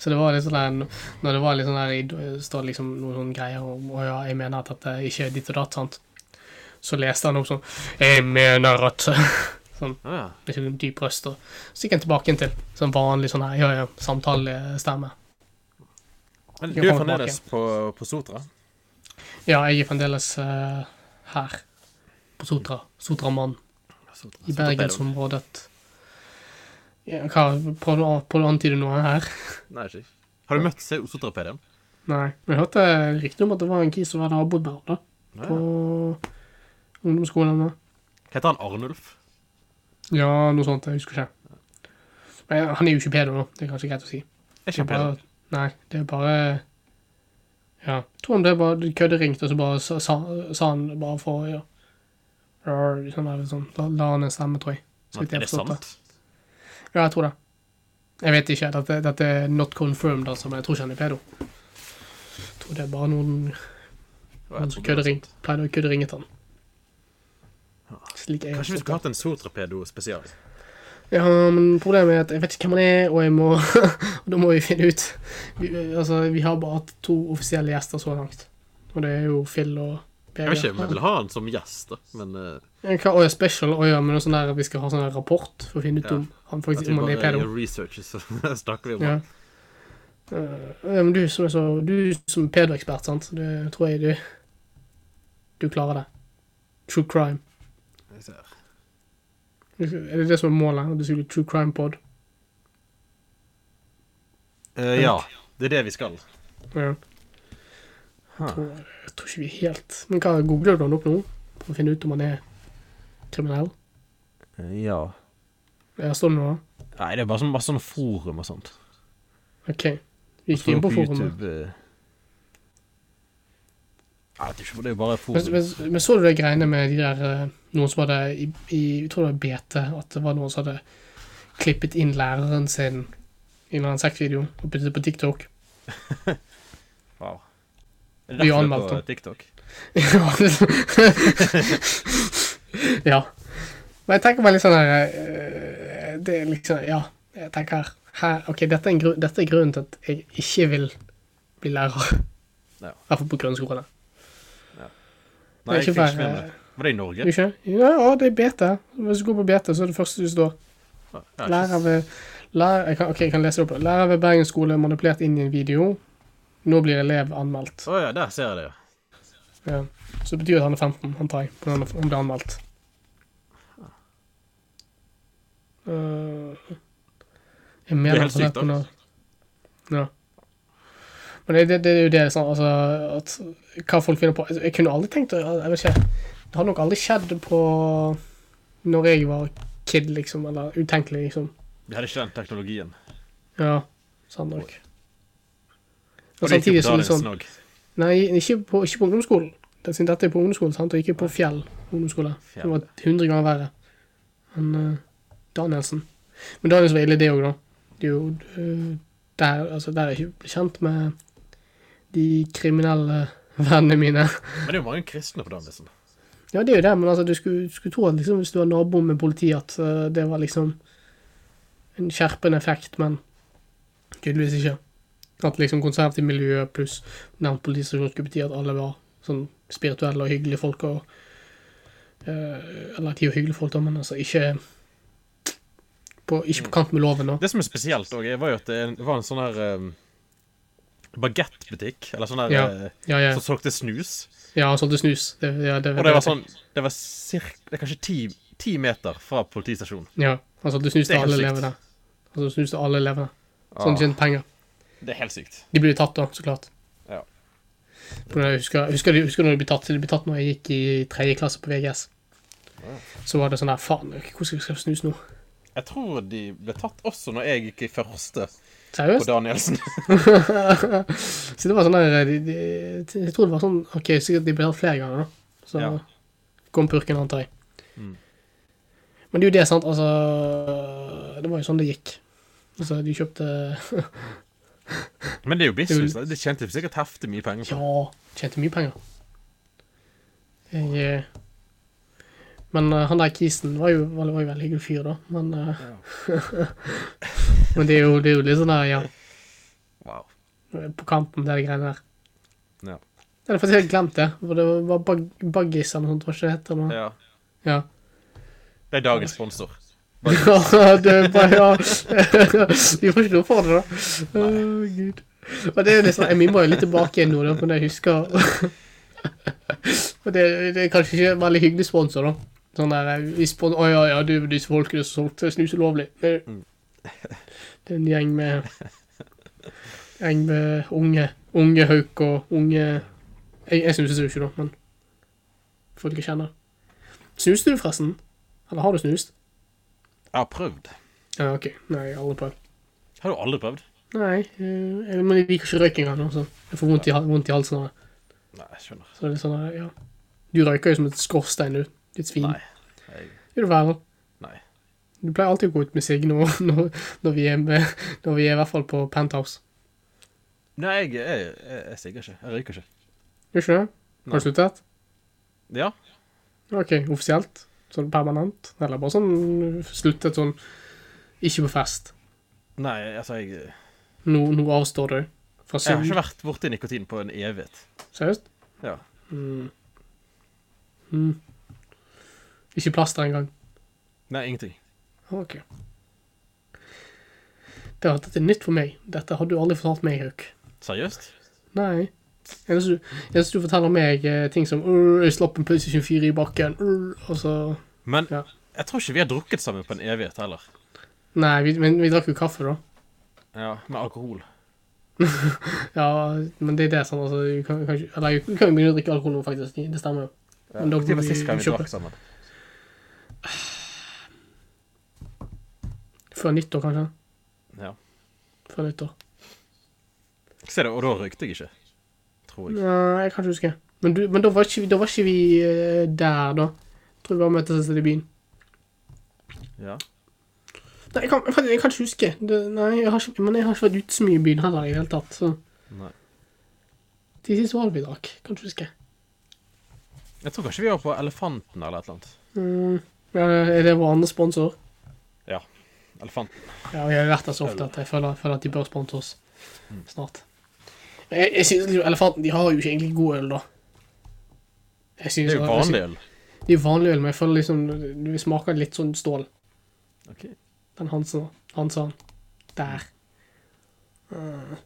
Så det var litt sånn der, når det var litt sånn der, i- står det liksom noen sånne greier om, å ja, jeg mener at dette ikke er ditt og datt, sant? Så leste han opp sånn, jeg mener at, sånn,
Å ja.
litt sånn dyp røst, og så gikk han tilbake inn til, sånn vanlig sånn her, ja, ja, samtalestemme.
Men
Vi
du er
kommer
fremdeles på, på Sotra?
Ja, jeg er fremdeles eh, her, på Sotra, Sotramann,
Sotra.
i
Sotra Pedro.
Bergensområdet. Ja, hva, prøvde du å prøvde du å antyde noe her?
Nei, ikke. Har du møtt Se- Sotra-PD-en?
Nei, men jeg hørte rykte om at det var en kis som var naboen med han da,
Ja.
på ungdomsskolen da.
Heter han Arnulf?
Ja, noe sånt. Jeg husker ikke. Men han er jo ikke pedo nå. Det er kanskje greit å si.
Er
Det
ikke
er
han pedo?
bare, nei, det er bare Ja. Jeg tror han det bare kødderingte, og så bare sa, sa- sa han bare for ja. Rar, Sånn der, liksom. Da la han en stemme, tror jeg. Så vidt
Er
jeg
det
forstod det.
sant?
Ja, jeg tror det. Jeg vet ikke. Dette, dette er not confirmed, altså, men jeg tror ikke han er pedo. Jeg tror det er bare noen,
Å, jeg
noen som
trodde det var
køddering,
sant.
pleide å kødderinge til han.
Ja.
Slik jeg
Kanskje vi
forstod det.
skulle hatt en Sotra-pedo spesial?
Ja, men problemet er at jeg vet ikke hvem han er, og jeg må Og da må vi finne ut. Vi, altså, vi har bare hatt to offisielle gjester så langt. Og det er jo Phil og
Jeg vet ikke om jeg vil ha han som gjest, da, men eh,
Hva er special? Å ja, men noe sånn der at vi skal ha sånn der rapport for å finne ut
Ja.
om han
at
faktisk
vi
om han er
bare
pedo.
gjør research, så snakker vi om
Ja.
han.
Eh, ja, men du som er så Du som er pedoekspert, sant, det tror jeg du Du klarer det. True crime.
Jeg ser.
Er det det som er målet? At du skal bli true crime pod?
Eh, ja, det er det vi skal.
Ja.
Ha.
tror, jeg tror ikke vi er helt Men hva googler du han opp nå? For å finne ut om han er kriminell?
Eh, Ja.
Ja, står det noe?
Nei, det er bare sånn, bare sånn forum og sånt.
OK. Vi gikk inn på forumet.
Jeg vet ikke, eh. det er jo bare
Men, men, men så du de greiene med de der eh, Noen som hadde i, i Jeg tror det var BT, at det var noen som hadde klippet inn læreren sin i en eller annen sexvideo og puttet det på TikTok.
Wow. Er
Vi
det derfor
anmeldte
det er
han.
på TikTok?
Ja, det- ja. Men jeg tenker meg litt sånn her eh, Det er liksom Ja, jeg tenker her, OK, dette er, en grunn, dette er grunnen til at jeg ikke vil bli lærer.
Ja.
I hvert fall på grunnskolen.
Nei,
Det er
jeg
ikke
fikk ikke
bare-
med meg det. Var det i Norge?
Ikke? Ja, ja, det er BT. Hvis du går på BT, så er det første du står
Ja, jeg har
Lærer
ikke-
ved lærer, jeg kan, Ok, jeg kan lese det opp. Lærer ved Bergen skole manipulert inn i en video. Nå blir elev anmeldt.
Å ja, der ser jeg det, ja.
Ja. Så det betyr at han er 15, antar jeg, på den- om det er anmeldt. Eh, jeg mener at
Det er helt
han
sykt, da.
på noe- Ja. Men det, det, det er jo det, sånn, altså, at hva folk finner på altså, Jeg kunne aldri tenkt å Jeg vet ikke. Det har nok aldri skjedd på Når jeg var kid, liksom, eller utenkelig, liksom.
Vi hadde ikke den teknologien.
Ja, sant nok.
Og
Og
det gikk jo
samtidig
på
så er det
Danielsen
sånn
òg.
Nei, ikke på, ikke på ungdomsskolen. Det, siden dette er på ungdomsskolen, sant? og ikke på Fjell ungdomsskole.
Fjell.
Det var 100 ganger verre enn eh, Danielsen. Men Danielsen var ille, det òg, da. Det er jo eh, der, altså, der er jeg ikke kjent med de kriminelle vennene mine.
Men det er jo mange kristne på Danielsen.
Ja, det er jo det, men altså, du skulle, skulle tro at liksom, hvis du var nabo med politi, at eh, det var liksom en skjerpende effekt, men tydeligvis ikke. At liksom konservativt miljø pluss nevnt politistasjon skulle bety at alle var sånn spirituelle og hyggelige folk og eh, Eller at de var hyggelige folk, da, men altså ikke på, ikke på kant med loven, da.
Det som er spesielt òg, var jo at det var en sånn her um, bagettbutikk, eller sånn her
Ja.
eh,
Ja, ja.
som solgte snus.
Ja, han solgte snus. Det, ja, det,
Og det var sånn Det var cirka, det er kanskje ti, ti meter fra politistasjonen.
Ja, han solgte snus
Det
til
er helt
alle
sykt. Ah.
elevene. Han solgte snus til alle elevene.
Sånn
Så han tjente penger.
Det er helt sykt.
De blir jo tatt da, så klart.
Ja.
For Jeg husker, jeg husker, jeg husker når de ble tatt. De ble tatt når jeg gikk i tredje klasse på VGS. Så var det sånn der Faen, hvor skal vi skaffe snus nå?
Jeg tror de ble tatt også når jeg gikk i første på
Seriøst?
Danielsen.
så det var sånn der de, de, Jeg tror det var sånn OK, sikkert de ble tatt flere ganger, da. Så
Ja.
kom purken, antar jeg.
Mm.
Men det er jo det, sant. Altså Det var jo sånn det gikk. Altså, de kjøpte
Men det er jo business. da. De tjente sikkert heftig mye penger på det.
Ja, tjente mye penger. Jeg eh, Men eh, han der Kisen var jo, var, var jo veldig hyggelig fyr, da. Men, eh, men det, er jo, det er jo litt sånn der, ja,
Wow.
på kanten, det er de greiene der.
Ja.
Jeg hadde faktisk helt glemt det. For det var bag Baggis eller noe sånt, hva ikke det heter nå?
Ja.
Ja.
Det er dagens sponsor.
Ja, det er bare, ja. Vi får ikke noe for det, da. Å, Gud. Og det er jo liksom, Jeg mimrer jo litt tilbake igjen nå, da, men jeg husker Og det, det er kanskje ikke en veldig hyggelig sponsor, da. Sånn der eh, vi spon Å ja, ja, du disse folkene som solgte eh, snus ulovlig. Det er- det er en gjeng med Gjeng med unge. Unge hauk og unge Jeg, jeg snuser jo ikke, da, men folk jeg kjenner. Snuste du, forresten? Eller har du snust?
Jeg har prøvd.
Ja, ok. Nei, jeg har aldri prøvd.
Har du aldri prøvd?
Nei, eh, jeg- men jeg liker ikke røyk engang. Altså. Jeg får vondt i, hal- vondt i halsen av det.
Nei, jeg skjønner.
Så det er litt sånn, eh, ja. Du røyker jo som et skorstein, du. Ditt svin.
Nei. Jeg,
Er du verre?
nei.
Du pleier alltid å gå ut med sigg nå, når, når, vi er med, når vi er i hvert fall på penthouse.
Nei, jeg, jeg, jeg, jeg sigger ikke. Jeg røyker ikke.
Gjør ikke det?
Nei.
Har du sluttet?
Ja.
Ok, offisielt? Sånn permanent? Eller bare sånn eh, sluttet sånn Ikke på fest.
Nei, altså, jeg
Nå, nå avstår du fra
Jeg har
synd.
ikke vært borti nikotin på en evighet.
Seriøst?
Ja.
Mm. Mm. Ikke plaster engang.
Nei, ingenting.
Ah, Ok. Det var, dette er nytt for meg. Dette har du aldri fortalt meg, Hauk.
Seriøst?
Nei. Jeg syns du, jeg synes du forteller meg eh, ting som «Åh, 'Jeg slapp en PlayStation 4 i bakken', «Åh», og så
Men
Ja.
jeg tror ikke vi har drukket sammen på en evighet heller.
Nei, vi, men vi drakk jo kaffe, da.
Ja, Med alkohol.
Ja, men det er det, sånn, altså. Du kan, kan, ikke- eller du kan jo begynne å drikke alkohol nå, faktisk. Det stemmer jo.
Ja.
Men da
Det
må
var
vi
sist gang vi
kjøpe.
drakk sammen.
Før nyttår, kanskje.
Ja.
Før nyttår.
Se det, og da røykte jeg ikke. Tror jeg.
Nei, jeg kan ikke huske. Men, du, men da, var ikke, vi- da var ikke vi eh, der, da. Jeg tror vi bare møttes et sted i byen.
Ja.
Nei, jeg kan, jeg, kan- jeg kan ikke huske. Det, nei, jeg har ikke, men jeg har ikke vært ute så mye i byen heller i det hele tatt. Så
Nei.
de siste årene vi drakk, kan ikke huske.
Jeg tror kanskje vi var på Elefanten eller et eller annet.
Mm, ja, er det vår andre sponsor?
Ja. Elefanten.
Ja, vi har jo vært der så ofte at jeg føler, føler at de bør sponse oss
Mm.
snart. Men jeg, jeg synes liksom Elefanten de har jo ikke egentlig god øl, da. Jeg synes,
Det er jo vanlig øl.
Det er jo vanlig øl, men jeg føler liksom du smaker litt sånn stål.
Ok.
Den Hansen, Hansan. Der. Mm.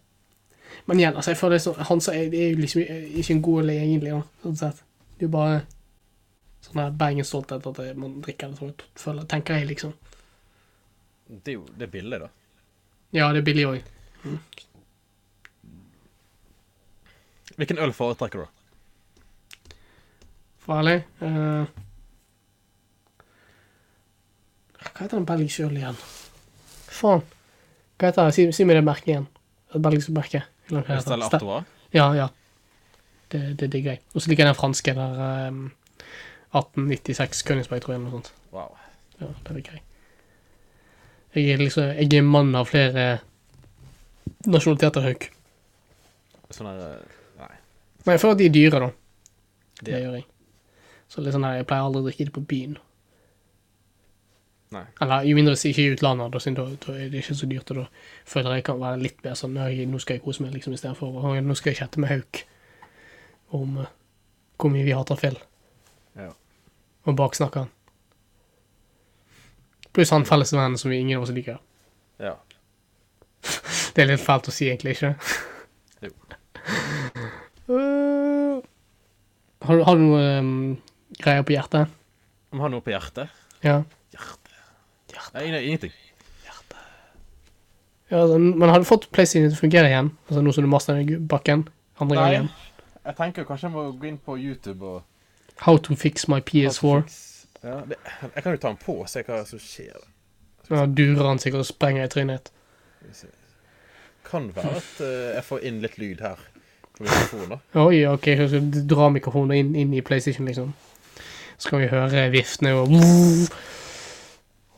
Men igjen, altså, jeg føler det er sånn Hansa er, det er jo liksom ikke en god øl egentlig, da, sånn sett. Det er jo bare sånn her Bergen-stolthet at det- man drikker det, tror jeg, føler, tenker jeg, liksom.
Det er jo det er billig, da.
Ja, det er billig òg.
Hvilken øl foretrekker du? da?
For ærlig. eh, hva heter den belgiske ølen igjen? Faen. Hva heter det? Si, si meg det merket igjen. Et belgisk merke. Eller hva heter det?
Stella
Ste-
Artois?
Ja, ja. Det, det digger jeg. Og så liker jeg den franske der ehm, 1896 Königsberg, tror jeg, eller noe sånt.
Wow.
Ja, det liker jeg. Jeg er liksom Jeg er mann av flere nasjonaliteter, Hauk.
Sånn her eh, Nei.
Men jeg føler at de er dyre, da. Det
Det,
gjør jeg. Så litt sånn her, jeg pleier aldri å drikke det på byen.
Nei.
Eller jo mindre det ikke i utlandet, da, siden da, da er det ikke så dyrt. Og da føler jeg kan være litt bedre sånn «Nei, Nå skal jeg kose meg, liksom, istedenfor «Å, Nå skal jeg chatte med Hauk om eh, hvor mye vi hater Phil,
Ja.
og baksnakke han. Pluss han fellesvennen som vi ingen av oss liker.
ja.
Det er litt fælt å si, egentlig, ikke?
Jo.
Eh, har, du- har du noe eh, greier på hjertet?
Om han har noe på hjertet?
Ja.
Hjerte Nei, nei, ingenting.
ja altså, men har du fått PlayStation til å fungere igjen? Altså Nå som du master den i bakken? Andre
Nei.
gangen?
Jeg tenker kanskje jeg må gå inn på YouTube og
How to fix my PS4?
Ja, det, jeg kan jo ta den på og se hva som skjer.
Ja, Durer han sikkert og sprenger i trynet. ditt.
Skal vi se. Kan være at eh, jeg får inn litt lyd her på mikrofonen. da.
Oi, OK, så skal du dra mikrofonen inn, inn i PlayStation, liksom. Så kan vi høre viftene og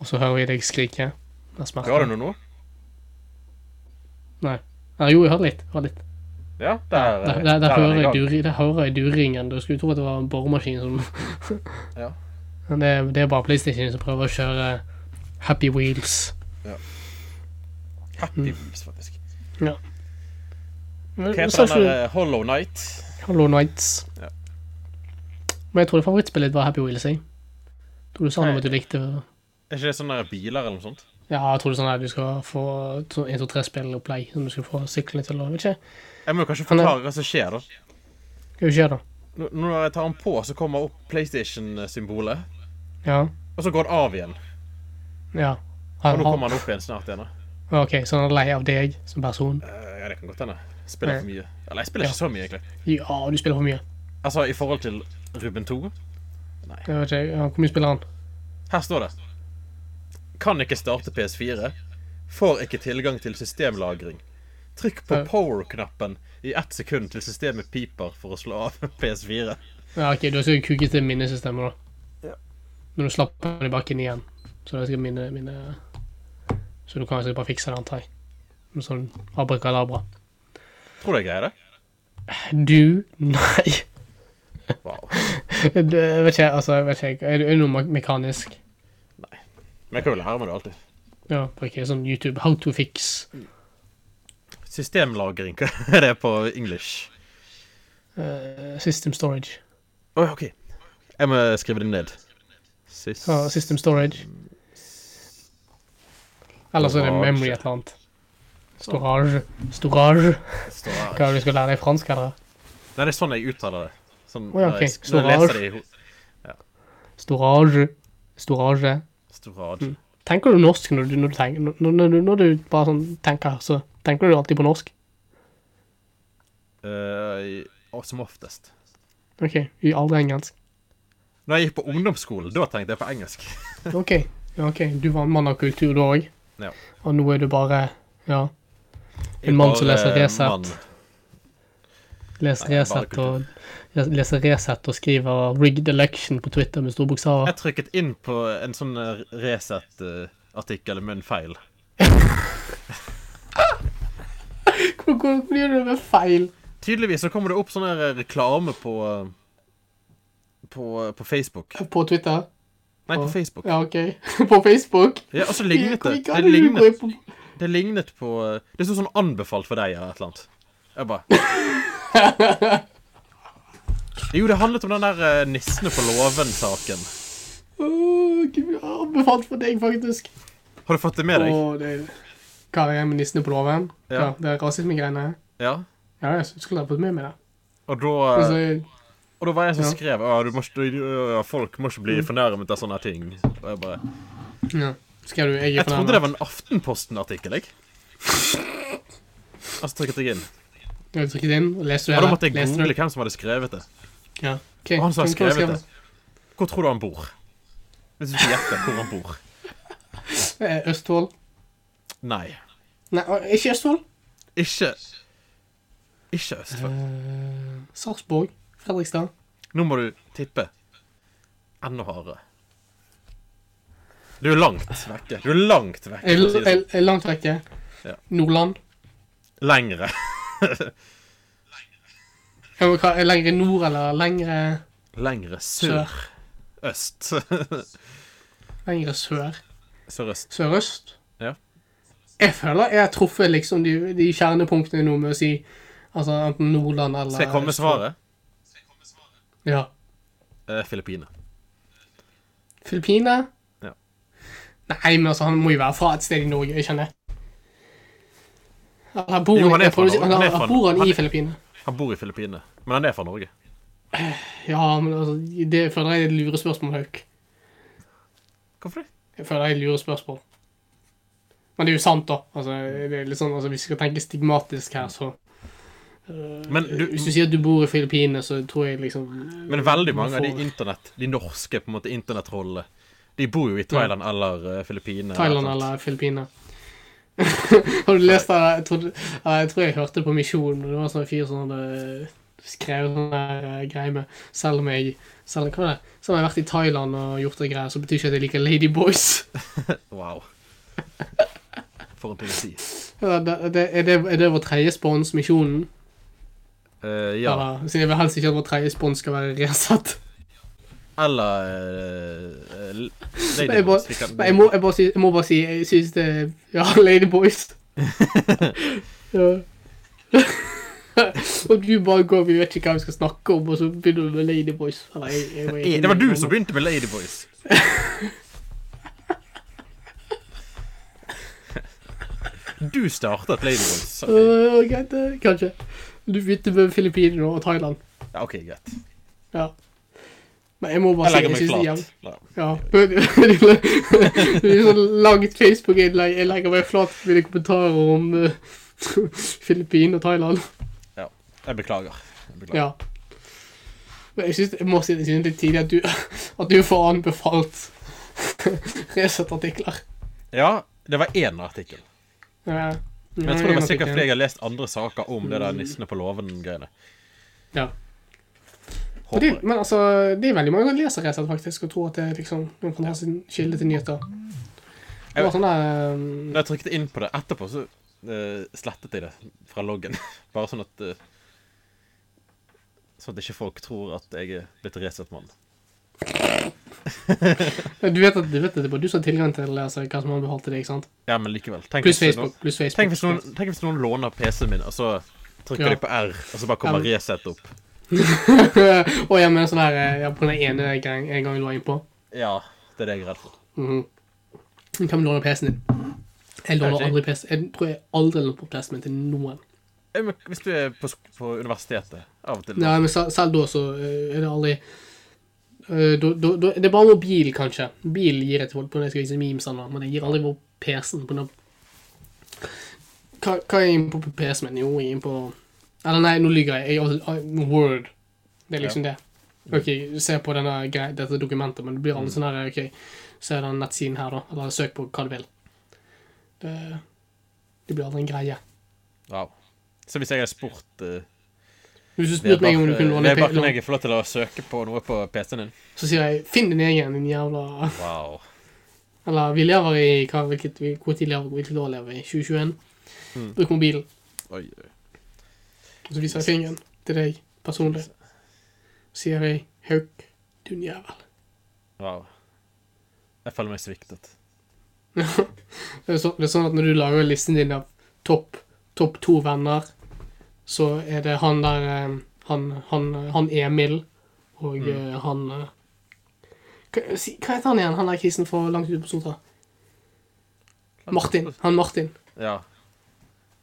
Og så hører vi deg skrike. Det er
Ga du
smerte.
noe nå?
Nei. Nei, jo, jeg hørte litt. Hørte litt.
Ja, der, eh,
Der, der, der,
er den i
hører jeg
gang.
duri, der hører jeg duringen. Du skulle tro at det var en boremaskin som
Ja.
Men det, det er bare PlayStation som prøver å kjøre Happy Wheels.
Happy Wheels, faktisk.
Men,
Hva heter
sa ikke
den
Mm. du-
der eh, Hollow Night?
Hollow Nights.
Ja.
Men jeg trodde favorittspillet ditt var Happy Wheels, jeg. Tror du sa noe om
Nei.
at du likte
Er ikke det sånne der biler eller noe sånt?
Ja, jeg trodde sånn at du skal få 1-2-3-spillopplegg som du skal få syklene til å Vet ikke.
Jeg må jo kanskje
Han er-
forklare hva som skjer, da.
Hva skjer da?
Nå- Når jeg tar den på, så kommer opp PlayStation-symbolet.
Ja.
Og så går den av igjen.
Ja.
Og
Han,
nå
han,
kommer den opp igjen snart igjen. da.
OK, så han er lei av deg som person?
Eh, ja, det kan godt hende. Spiller for mye. Eller jeg spiller ikke så mye, egentlig.
Ja, du spiller for mye.
Altså, i forhold til Ruben 2
Jeg vet ikke, ja, Hvor mye spiller han?
Her står det Kan ikke starte PS4 Får ikke tilgang til systemlagring Trykk på
Ja.
power-knappen I ett sekund til systemet piper For å slå av PS4
Ja, ok, Du har sikkert kuket til minnesystemet, da.
Ja.
Når du slapp den i bakken igjen. Så det er sikkert minne, minne Så du kan sikkert bare fikse det, antar jeg. Med sånn abrakadabra.
Tror du jeg greier det?
Du? Nei.
Wow
Det- Jeg vet ikke, altså, jeg vet ikke. Er du er du noe me- mekanisk?
Men jeg kan jo lære meg det alltid
Ja, på ikke sånn YouTube. How to fix
Systemlagring, hva er det på English?
eh, system storage.
Åja, ok Jeg må skrive det ned Sys
Ja, system storage. Eller så er det
Storage.
memory et eller annet. Storage. Storage.
Storage.
Hva er det du skal lære deg fransk, eller?
Nei, det er sånn jeg uttaler det Sånn,
Åja,
når jeg-
ok.
når jeg leser det i ho-
Storage. Storage.
Storage
Mm. Tenker du norsk når du, når du, tenker, når, når, du- når du bare sånn tenker, så tenker du alltid på norsk?
Eh, og Som oftest
OK. I aldri engelsk.
Når jeg gikk på ungdomsskolen, da tenkte jeg på engelsk
OK. ja, ok, Du var en mann av kultur, du òg.
Ja.
Og nå er du bare Ja. En mann som leser
Bare
Resett.
mann.
Leser
Nei, bare
Resett og leser Resett og skriver 'rigged election' på Twitter med store bokstaver.
Jeg trykket inn på en sånn Resett-artikkel med en feil.
Hvordan hvordan gjør du det med feil?
Tydeligvis så kommer det opp sånn her reklame på eh, på, eh, på Facebook.
På Twitter?
Nei, på Facebook.
Ja, OK. På Facebook?
Ja, og så lignet det.
Hvordan
Det
kan du gå
lignet,
inn på-
det lignet på eh, Det sto sånn 'anbefalt for deg' eller et eller annet. Jeg bare Jo, det handlet om den der eh, nissene på låven-saken.
Åh, Gud, Anbefalt for deg, faktisk.
Har du fått det med deg?
Åh, det er... Hva er det med nissene på låven?
Ja.
Ja. det er rasismegreiene.
Ja.
Ja, jeg skulle ha fått med meg det.
Og da, eh,
Altså,
og da var jeg som
Ja. Mm.
skrev «Å, du må ikke, du- folk må ikke bli fornærmet av sånne ting. Og jeg bare
ja. Skrev du 'jeg er
Jeg trodde det
fornærmet'?
var en Aftenposten-artikkel, jeg. Og så trykket jeg inn.
Jeg trykket inn, og leste du
Og da måtte jeg
Leste du
google hvem som hadde skrevet det.
Ja. Ok,
Og han som
hvem-
hadde
hvem
skrevet det. Hvor tror du han bor? Hvis du skal gjette hvor han bor.
Eh, Østfold.
Nei.
Nei, å, ikke Østfold.
Ikke Ikke Østfold.
Eh, Sarpsborg. Fredrikstad.
Nå må du tippe enda hardere. Du er langt vekke. Du er langt vekke.
Jeg,
for å si det sånn.
jeg, jeg, langt vekke.
Ja.
Nordland.
sånn. Lengre.
Jeg må, hva, er lengre nord eller lengre
Lengre
sør?
sør. Øst.
Lenger sør.
Sørøst.
Sørøst.
Ja.
Jeg føler jeg har truffet liksom de, de kjernepunktene nå med å si altså enten Nordland eller
Skal jeg komme med svaret?
Ja.
Eh, Filippinene.
Filippinene?
Ja.
Nei, men altså, han må jo være fra et sted i Norge, ikke sant? Eller bor
Jo, han er
jeg
fra
prøver å si-
Norge. Han er
eller
fra-
bor han
han
i
er-
Filippinene?
Han bor i Filippinene, men han er fra Norge.
Ja, men altså, det føler jeg er et lurespørsmål, Hauk.
Hvorfor det?
Jeg føler jeg lurer spørsmål. Men det er jo sant, da. Altså, det er litt sånn, altså, hvis vi skal tenke stigmatisk her, så øh,
Men du-
Hvis du sier at du bor i Filippinene, så tror jeg liksom
Men veldig mange av de internett, de norske på en måte internettrollene, de bor jo i Thailand eller eh, Filippinene.
Thailand
sånt.
eller Filippinene. Har du lest det? Jeg, trodde, ja, jeg tror jeg hørte det på Misjon, og det var sånn en fyr som hadde skrevet sånn der eh, greie med Selv om jeg selv, hva var det? selv om jeg har vært i Thailand og gjort det greier, så betyr ikke det at jeg liker Ladyboys.
Wow. For en ting å si.
Er det, er det, er det vår tredje spons, Misjonen?
Eh,
Ja.
ja.
Eller, siden jeg vil helst ikke at vår tredje spons skal være Resett.
Eller eh, eh, Lady
Jeg,
Boys,
bare-
vi kan-
nei, jeg, må- jeg, bare si- jeg må bare si jeg syns det Ja, Ladyboys. ja. og du bare går Vi vet ikke hva vi skal snakke om, og så begynner du med Ladyboys. Eller, jeg, jeg, jeg,
Eh, Det var du som begynte med Ladyboys. Du startet Ladyboys. ok.
Øh, greit, det- kanskje. Du begynte med Filippinene og Thailand.
Ja, OK, greit.
Ja. Men jeg må bare
Jeg
si
legger
jeg
meg
syns det er jævlig
flat. Ja.
Ja. Det blir sånn langt Facebook-innlegg. Jeg legger meg flat med kommentarer om uh, Filippinene og Thailand.
Jeg beklager. Jeg beklager.
Ja. Men jeg, synes, jeg må si det synes litt tidlig at du, at du får anbefalt Resett-artikler.
Ja, det var én artikkel.
Ja.
Men jeg tror det var sikkert fordi jeg har lest andre saker om det der nissene på låven-greiene.
Ja. Men,
Håper
det,
jeg.
men altså, det er veldig mange som leser Resett, faktisk, og tror at det er liksom, man kan ha sin kilde til nyheter. Det var sånn der um,
Når jeg trykte inn på det etterpå, så eh, slettet jeg det fra loggen. Bare sånn at eh, Sånn at ikke folk tror at jeg er blitt Resett-mann.
Du vet at du vet at det er bare du som har tilgang til å lese hva som anbefalte deg, ikke sant?
Ja, men likevel. Tenk
Pluss
hvis noen-
Facebook. Pluss Facebook.
Tenk hvis noen, tenk hvis noen låner PC-en min, og så trykker
Ja.
de på R, og så bare kommer
Ja, men-
Resett opp.
og jeg mener sånn her eh, ja, På den ene gang, en gang du var innpå.
Ja, det er det jeg er redd for.
Mhm. Hvem låner PC-en din? Jeg låner
Kanskje.
aldri PC. Jeg tror jeg aldri låner på PC-en min til noen.
Eh, men Hvis du er på, sk- på universitetet av og til
Nei, men sel- selv da så eh, er det aldri eh, da- da- da- Det er bare mobil, kanskje. Bil gir jeg til folk på når jeg skal vise memes, eller noe, men jeg gir aldri på PC-en. på noe. Hva, hva er jeg inne på på PC-en min? Jo, jeg er inne på Eller nei, nå lyver jeg. jeg er alltid- Word. Det er liksom det. Ok, se på denne grei, dette dokumentet, men det blir alle sånn her Ok, se den nettsiden her, da. Eller søk på hva du vil. Det, det blir aldri en greie.
Wow. Så hvis jeg hadde spurt eh,
Hvis du spurte meg om du kunne
Vedbakken
låne
eh, Vedbakken,
låne-
jeg får lov til å søke på noe på PC-en din.
Så sier jeg 'finn din egen, din jævla
Wow.
Eller vi lever i hva, hvilket, vi- hvor tid lever, hvilket år lever vi? i? 2021? Bruk mobilen,
Oi, oi.
og så viser jeg fingeren til deg personlig. Så sier jeg 'Hauk, du jævel'.
wow. Jeg føler meg sviktet.
Det er, så, det er sånn at når du lager listen din av topp topp to venner, så er det han der eh, Han, han, han Emil og eh, han eh, hva, si- hva heter han igjen, han der krisen fra langt ute på Sotra? Martin. Han Martin.
Ja.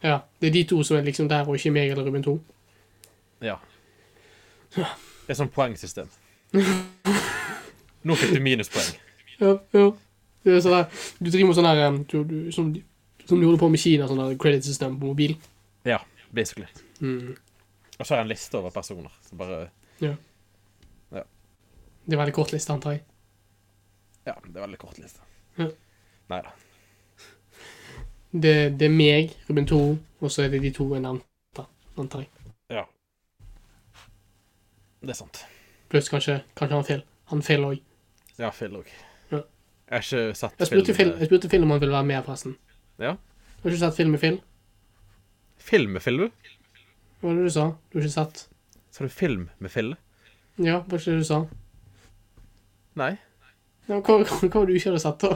Ja, det er de to som er liksom der, og ikke meg eller Ruben 2.
ja. Det er sånn poengsystem. Nå fikk du minuspoeng.
Ja, ja. Det er sånn der, du driver med sånn der um, du, du, som, som du holder på med i Kina, sånn der credit system på mobil.
Ja, basically.
Mm.
Og så har jeg en liste over personer. Så bare
Ja.
Ja.
Det er veldig kort liste, antar jeg.
Ja, det er veldig kort liste.
Ja.
Nei da.
Det, det er meg, Ruben 2, og så er det de to jeg nevnte, antar jeg.
Ja. Det er sant.
Pluss kanskje, kanskje han Phil. Han Phil òg.
Ja, Phil òg.
Ja.
Jeg har ikke sett
Jeg spurte Phil, eh, jeg spurte Phil om han ville være med, forresten.
Ja.
Du har ikke sett film med Phil?
Film med Phil, du?
Hva var det du sa? Du har ikke sett
Sa du film med Phil?
Ja, hva var det du sa?
Nei.
Ja, men Hva hva- hva var det du ikke hadde sett, da?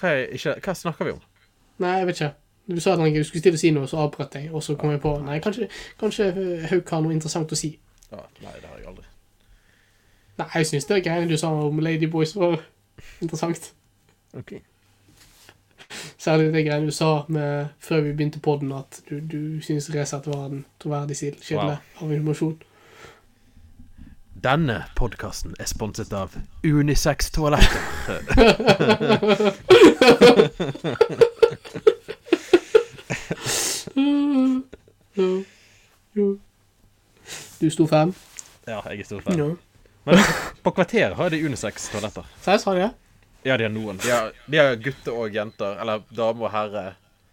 Hva, er, ikke, hva snakker vi om?
Nei, jeg vet ikke. Du sa at han ikke skulle til å si noe, så avbrøt jeg, og så kom jeg på Nei, kanskje, kanskje eh, Hauk har noe interessant å si.
Ja, nei, det har jeg aldri.
Nei, jeg syns det greiene du sa om Ladyboys var interessant.
Ok.
Særlig det greiene du sa med, før vi begynte podden, at du, du syns Resett var en troverdig sil- kilde av informasjon.
Denne podkasten er sponset av Unisex-toaletter.
Ja. Jo. Du sto fem?
Ja, jeg er stor fan.
Ja.
Men på kvarteret har de Unisex-toaletter.
Seriøst, har de det?
Ja, de har noen. De har, de har gutter og jenter. Eller dame og herre.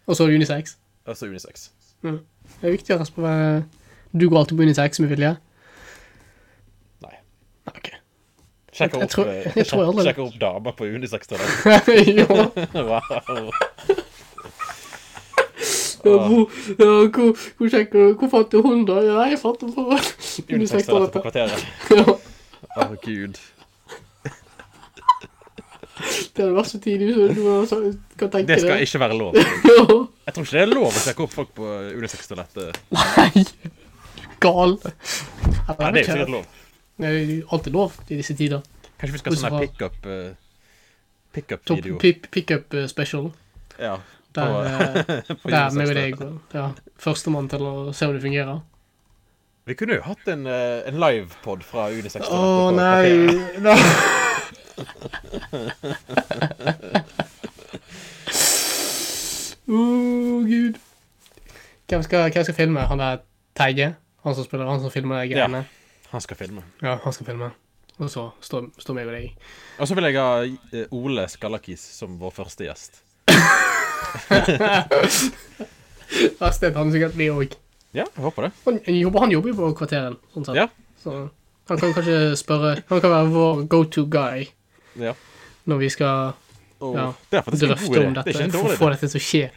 Og så har du unisex.
Altså Unisex.
Det er viktig å respektere Du går alltid på unisex med vilje?
Nei.
Nei, OK.
Sjekker
Jeg
opp,
tror-
eh,
jeg tror jeg aldri-
sjekker opp damer på Unisex-toaletter.
ja.
Wow. Ah.
Ja, hvor, ja, hvor, hvor, sjekker du? hvor fant du hun, da? Ja, jeg fant henne på
Unisex-toaletter på
unisex-toalettet.
kvarteret.
Ja,
Å, gud.
det hadde vært så tidlig så du var så- kan tenke
Det skal
deg.
ikke være lov. Jeg
Ja.
tror ikke det er lov å sjekke opp folk på eh, Unisex-toalettet.
Nei! Gal.
Nei, det er jo sikkert lov.
Det er jo alltid lov i disse tider.
Kanskje vi skal ha sånn
Hvorfor?
her pickup eh,
Top
Pickup-video.
pick- pickup eh, special.
Ja.
Der,
På-
eh,
på
der med
Unisex-toalettet.
deg. og- Ja, Førstemann til å se om det fungerer.
Vi kunne jo hatt en, eh, en livepod fra Unisex.
Å nei. nei. Å, gud. Hvem skal, hvem skal filme? Han der Teige? Han som spiller, han som filmer de
Ja.
greiene?
Han skal filme.
Ja. han skal filme. Og så står står meg ved deg.
Og så vil jeg ha eh, Ole Skallakis som vår første gjest.
Astrid han sikkert blir òg.
Ja, jeg håper det.
Han jobber han jobber jo på Kvarteren, sånn sett.
Ja.
Så han kan kanskje spørre Han kan være vår go to guy
ja.
når vi skal
Og
Ja.
Oh, Det er faktisk en god
drøfte
idé.
om
Det er
dette,
ikke en
for
dårlig
å få
idé.
dette til å skje.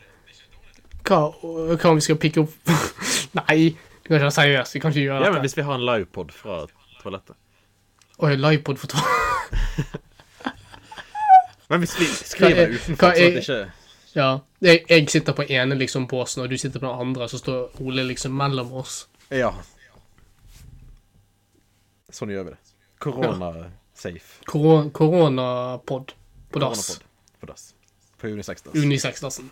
Hva, hva om vi skal pikke opp Nei, vi kan ikke være seriøse. Vi kan ikke gjøre
Ja, men
dette.
hvis vi har en livepod fra toalettet
Oi, livepod for to
Men hvis vi
Hva
skriver det
er-
utenfor,
hva
så at det
er-
ikke
Ja. Jeg, jeg sitter på ene liksom båsen, og du sitter på den andre, så står Ole liksom mellom oss.
Ja. Sånn gjør vi det. Korona-safe.
Koro- Koronapod på dass.
Koronapod På dass. På Unisex-dass.
Unisex-dassen.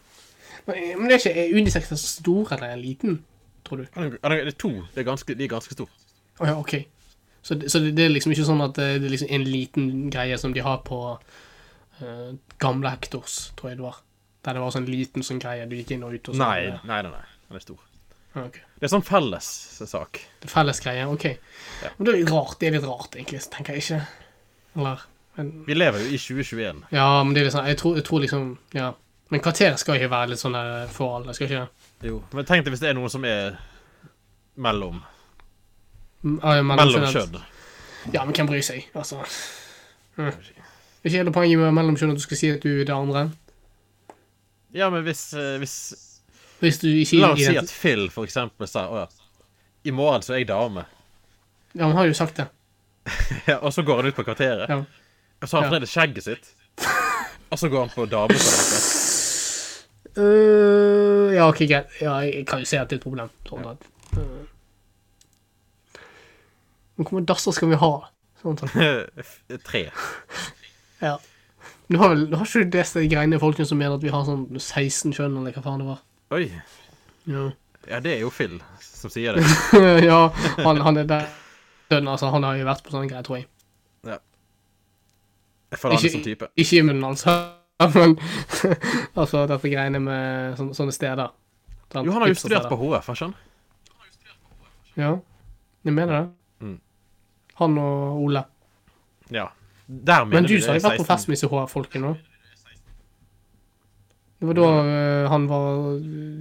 Men, men det er ikke er unisex-dassen stor eller liten, tror du?
Han er- han er- Det er to. Det er ganske, de er ganske store.
Å ja, OK. Så, det- så det, det er liksom ikke sånn at eh, det er liksom en liten greie som de har på eh, gamle Hectors, tror jeg det var. Der det var sånn liten sånn greie du gikk inn og ut og sånn.
Nei, nei, nei. nei. Han er stor.
Ja, ok.
Det er sånn fellessak.
Det er Felles greie, OK. Men det er litt rart, det er litt rart, egentlig, så tenker jeg ikke. Eller men,
Vi lever jo i 2021.
Ja, men det er litt sånn Jeg tror, jeg tror liksom Ja. Men kvarteret skal ikke være litt sånn der for alle, skal ikke det?
Jo, men tenk deg hvis det er noen som er mellom,
Mm, ja, men-
mellom kjønn.
Ja, men hvem bryr seg, altså. Mm. Ikke hele poenget med mellomkjønn at du skal si at du er det andre.
Ja, men hvis, eh, hvis
Hvis du ikke
La oss si
identi-
at Phil for eksempel sa Å ja, i morgen så er jeg dame.
Ja, han har jo sagt det.
Ja, og så går han ut på kvarteret.
Ja.
Og så har han
Ja.
fremdeles skjegget sitt. Og så går han på dametoalettet.
Øh, ja, ok, greit. Ja, jeg jeg kan jo se at det er et problem. Sånn at, øh. Men hvor mange dasser skal vi ha? Sånn, sånn.
Tre.
Ja. Du har, vel, du har ikke du lest de greiene folkene som mener at vi har sånn 16 kjønn, eller hva faen det var?
Oi.
Ja,
Ja, det er jo Phil som sier det.
ja han, han er der. Døden, altså, han har jo vært på sånne greier, tror jeg.
Ja. Jeg føler han er
Ikke-
sånn type.
Ikke i munnen, altså. Men altså, dette greiene med sånn, sånne, sånne steder.
Jo, han har
sånn
jo studert på HF, har ikke han?
Ja, jeg mener det.
Mm.
Han og Ole.
Ja. Der mener
Men du
de
sa jeg
det er
vært på
16.
fest med disse HR-folkene nå. Det var da
Mm.
eh, han var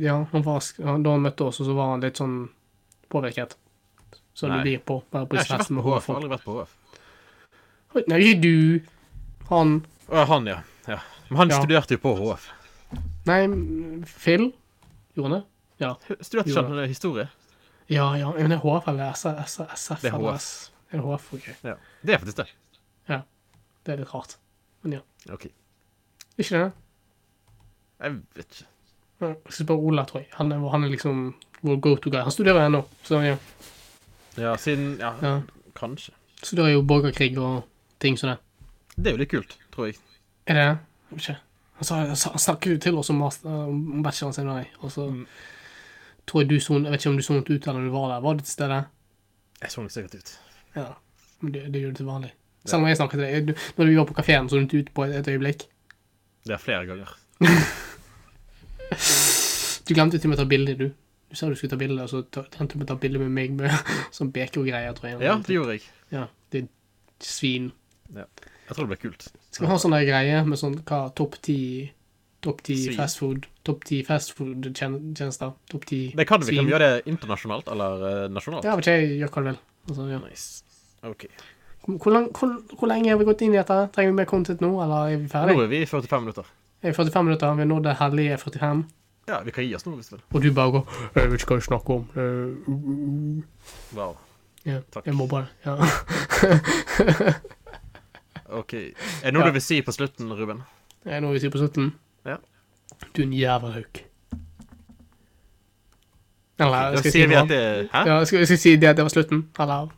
Ja, han var, sk- han- da han møtte oss, og så var han litt sånn påvirket. Så
Nei.
du blir på bare på
Jeg har ikke
fest
vært
med
på HF. Jeg har
HR-folk.
aldri vært på HF.
Nei, ikke du. Han
Å, ja, han, ja. ja. Men han
Ja.
studerte jo på HF.
Nei, m- Phil? Gjorde han det? Ja.
Studerte
Jo,
ikke han historie?
Ja, ja. Men det er HF eller SF? SF
Det er
eller
HF.
S? Er det HF? OK.
Ja. Det er faktisk det.
Det er litt rart. Men ja.
OK.
Ikke det?
Jeg vet ikke.
Ja, Jeg skal spørre Ola, tror jeg. Han er, han er liksom vår go-to-guy. Han studerer ennå, så ja.
Ja, siden Ja,
ja.
kanskje.
Studerer jo borgerkrig og ting som det.
Det er jo litt kult, tror jeg.
Er det det? Jeg vet Ikke. Han, sa, han sa- han snakket jo til oss om, master, om bacheloren sin, nei. Og så
Mm.
tror jeg du son, Jeg vet ikke om du sonet ut eller om du var der. Var du til stede?
Jeg så nok sikkert ut.
Ja. Men det, det gjør du til vanlig. Selv om jeg snakket til deg. jeg- du- Når vi var på kafeen, så du ikke ut på et, et øyeblikk.
Det er flere ganger.
Du glemte til og med å ta bilde, du. Du sa du skulle ta bilde, og så ta- endte du med å ta bilde med meg med sånn beke og greier, tror jeg.
Ja, det gjorde jeg.
Ja, det er svin.
Jeg tror det ble kult.
Skal vi ha sånne greier med sånn hva topp ti Topp ti
Svin.
fastfood Topp ti fastfood-tjenester. Topp ti
Det kan vi. Kan vi gjøre det internasjonalt eller eh, nasjonalt?
Ja, vet ikke, jeg gjør hva du vil. Altså, ja.
Nice. OK.
hvor, lang, hvor, hvor lenge har vi gått inn i dette? Trenger vi mer content nå, eller er vi
Nå
ferdig?
er vi i 45 minutter.
Er vi 45 minutter, vi har nådd det hellige 45.
Ja, vi kan gi oss nå hvis vi vil.
Og du bare går Jeg vet ikke hva jeg snakker om. Eh,
Wow.
Ja,
Takk.
jeg mobber deg. Ja.
OK. Er det noe
Ja.
du vil si på slutten, Ruben?
Det er noe vi sier på slutten.
Ja.
Du er en jævla hauk. Eller
Da
skal jeg si
sier vi
noe
at
annet?
det Hæ?
Ja, skal, skal jeg si det at det var slutten? Eller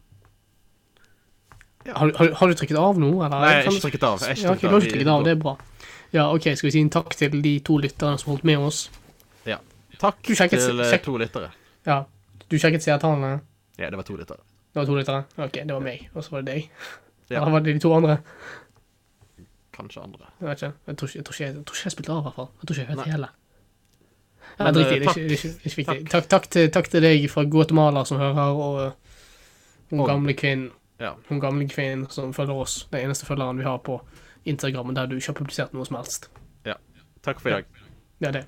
Ja.
har, du- har, du- har du trykket av nå, eller?
Nei, jeg har
Kan-
ikke trykket av. Jeg har
Ja, ok, du har ikke
Vi-
trykket av, det er bra. Ja, ok, skal vi si en takk til de to lytterne som holdt med oss.
Takk
Du sjekket-
til eh,
sjekk-
to lyttere.
Ja, du sjekket seertallene.
Ja, det var to lyttere.
Det var to lyttere. Ok, det var meg, og så var det deg.
Ja.
Eller var det de to andre?
Kanskje andre.
Jeg vet ikke. Jeg tror ikke jeg, tror ikke jeg, tror ikke jeg spilte av, i hvert fall. Jeg tror ikke jeg
Nei.
hørte hele. Ja,
Men,
drit i
eh,
det. Det er ikke- det er ikke- det er ikke viktig. Takk, takk, til, takk til deg fra Guatemala som hører, og eh, hun
Og-
gamle kvinnen.
Ja.
Hun gamle kvinnen som følger oss. Den eneste følgeren vi har på Instagram, der du ikke har publisert noe som helst.
Takk for i dag.
Det er det.